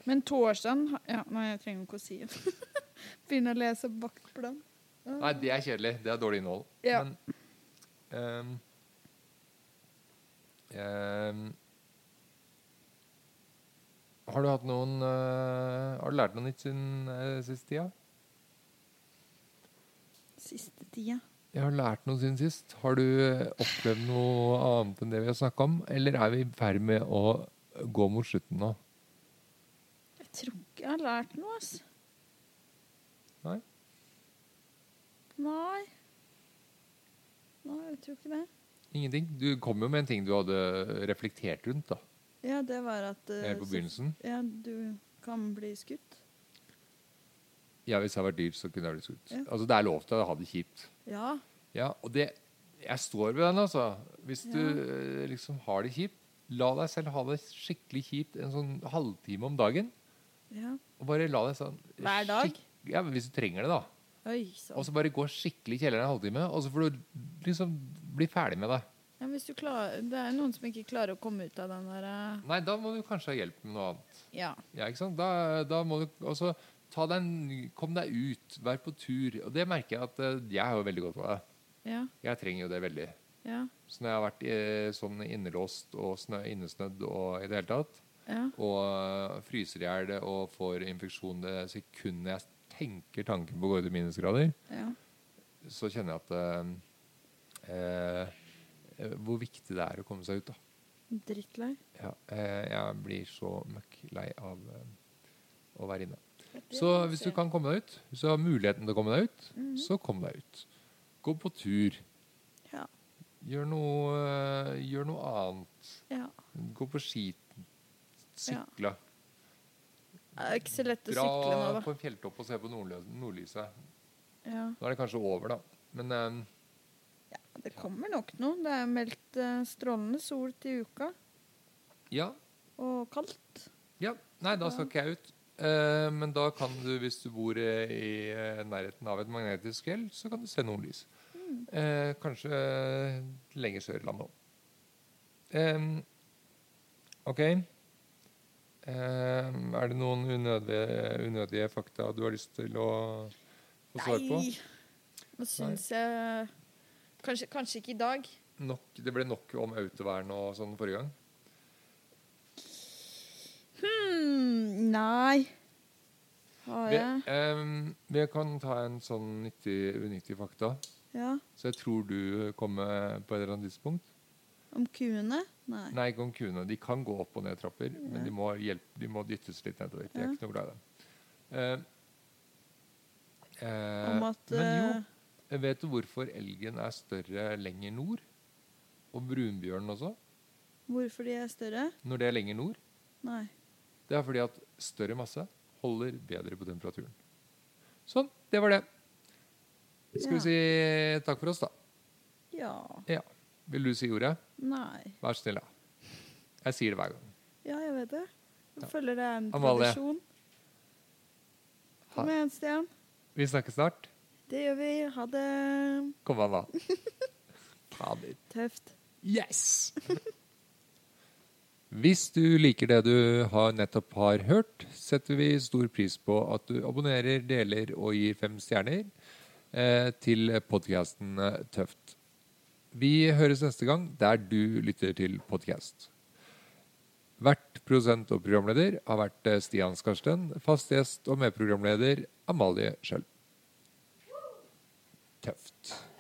Speaker 2: Men torsdagen ha- Ja, nei, jeg trenger ikke å si det. Begynne å lese baktplan.
Speaker 1: Nei, det er kjedelig. Det er dårlig innhold.
Speaker 2: Ja.
Speaker 1: Men Ehm, ehm, har du hatt noen eh, Har du lært noe nytt siden eh, sist tida?
Speaker 2: Siste tida.
Speaker 1: Jeg har lært noe siden sist. Har du eh, opplevd noe annet enn det vi har snakka om? Eller er vi i ferd med å gå mot slutten nå?
Speaker 2: Jeg tror ikke jeg har lært noe, ass.
Speaker 1: Nei?
Speaker 2: Nei. Nei, jeg tror ikke det.
Speaker 1: Ingenting? Du kom jo med en ting du hadde reflektert rundt da,
Speaker 2: Ja, det var at eh,
Speaker 1: helt på begynnelsen.
Speaker 2: Ja, du kan bli skutt.
Speaker 1: Ja, hvis jeg hadde vært dyr, så kunne jeg blitt skutt.
Speaker 2: Ja.
Speaker 1: Altså, det er lov til å ha det kjipt.
Speaker 2: Ja.
Speaker 1: Ja, og det Jeg står ved den, altså. Hvis du
Speaker 2: Ja.
Speaker 1: eh, liksom har det kjipt, la deg selv ha det skikkelig kjipt en sånn halvtime om dagen.
Speaker 2: ja.
Speaker 1: Og bare la deg sånn
Speaker 2: Hver dag?
Speaker 1: skikk- Ja, men hvis du trenger det, da.
Speaker 2: Oi sann.
Speaker 1: Og så bare gå skikkelig i kjelleren en halvtime, og så får du liksom bli ferdig med det.
Speaker 2: Ja, hvis du klar, det er noen som ikke klarer å komme ut av den der eh,
Speaker 1: Nei, da må du kanskje ha hjelp med noe annet.
Speaker 2: Ja.
Speaker 1: Ja, ikke sant? Da, da må du også ta deg en ny- Kom deg ut. Vær på tur. Og det merker jeg at eh, jeg har jo veldig godt av det.
Speaker 2: Ja.
Speaker 1: Jeg trenger jo det veldig.
Speaker 2: Ja.
Speaker 1: Så når jeg har vært eh, sånn innelåst og snø, innesnødd og i det hele tatt,
Speaker 2: Ja.
Speaker 1: og eh, fryser i hjel og får infeksjon det sekundet jeg tenker tanken på å gå ut i minusgrader,
Speaker 2: Ja.
Speaker 1: så kjenner jeg at eh, eh, Hvor viktig det er å komme seg ut, da.
Speaker 2: Drittlei.
Speaker 1: Ja, eh, jeg blir så møkk lei av eh, å være inne. Så hvis du kan komme deg ut, hvis du har muligheten til å komme deg ut, så kom deg ut. Gå på tur.
Speaker 2: Ja.
Speaker 1: Gjør noe, eh, gjør noe annet.
Speaker 2: ja.
Speaker 1: Gå på ski. Sykle.
Speaker 2: Det er ikke så lett å sykle nå,
Speaker 1: Dra
Speaker 2: da.
Speaker 1: på en fjelltopp og se på nordlø- nordlyset.
Speaker 2: Ja.
Speaker 1: Nå er det kanskje over, da. Men eh,
Speaker 2: Det kommer nok noe. Det er meldt eh, strålende sol til uka,
Speaker 1: ja.
Speaker 2: og kaldt.
Speaker 1: ja. Nei, da skal ikke jeg ut. Eh, men da kan du, hvis du bor eh, i eh, nærheten av et magnetisk fjell, så kan du se nordlys.
Speaker 2: Mm.
Speaker 1: Eh, kanskje eh, lenger sør i landet òg. OK. Eh, er det noen unødige, unødige fakta du har lyst til å få svar på?
Speaker 2: Nå syns jeg kanskje, kanskje ikke i dag.
Speaker 1: Nok, det ble nok om autovern og sånn forrige gang.
Speaker 2: Hmm, nei. Har
Speaker 1: Vi,
Speaker 2: jeg?
Speaker 1: ehm, vi kan ta en sånn nyttig, unyttig fakta.
Speaker 2: Ja.
Speaker 1: Så jeg tror du kommer på et eller annet tidspunkt.
Speaker 2: Om kuene? Nei.
Speaker 1: Nei, ikke om kuene. De kan gå opp og ned trapper, men de må, hjelp- de må dyttes litt nedover. Jeg er ikke noe glad i dem. Eh, eh,
Speaker 2: Om at
Speaker 1: men
Speaker 2: eh,
Speaker 1: jo, vet du hvorfor elgen er større lenger nord? Og brunbjørnen også,
Speaker 2: Hvorfor de er større?
Speaker 1: når det er lenger nord.
Speaker 2: Nei.
Speaker 1: Det er fordi at større masse holder bedre på temperaturen. Sånn, det var det. Skal
Speaker 2: Ja.
Speaker 1: vi si takk for oss, da?
Speaker 2: Ja.
Speaker 1: Ja. Vil du si ordet?
Speaker 2: Nei.
Speaker 1: Vær snill, da. Jeg sier det hver gang.
Speaker 2: Ja, jeg vet det.
Speaker 1: Ja.
Speaker 2: Jeg føler det er en
Speaker 1: Amalie.
Speaker 2: tradisjon.
Speaker 1: Ha-
Speaker 2: Kom igjen, Stian.
Speaker 1: Vi snakkes snart.
Speaker 2: Det gjør vi. Ha det
Speaker 1: Kom an, da. Fader.
Speaker 2: tøft.
Speaker 1: Yes! Hvis du liker det du har nettopp har hørt, setter vi stor pris på at du abonnerer, deler og gir fem stjerner eh, til podkasten Tøft. Vi høres neste gang der du lytter til podkast. Vert produsent og programleder har vært eh, Stian Skarsten. Fast gjest og medprogramleder Amalie Schjøll. Tøft.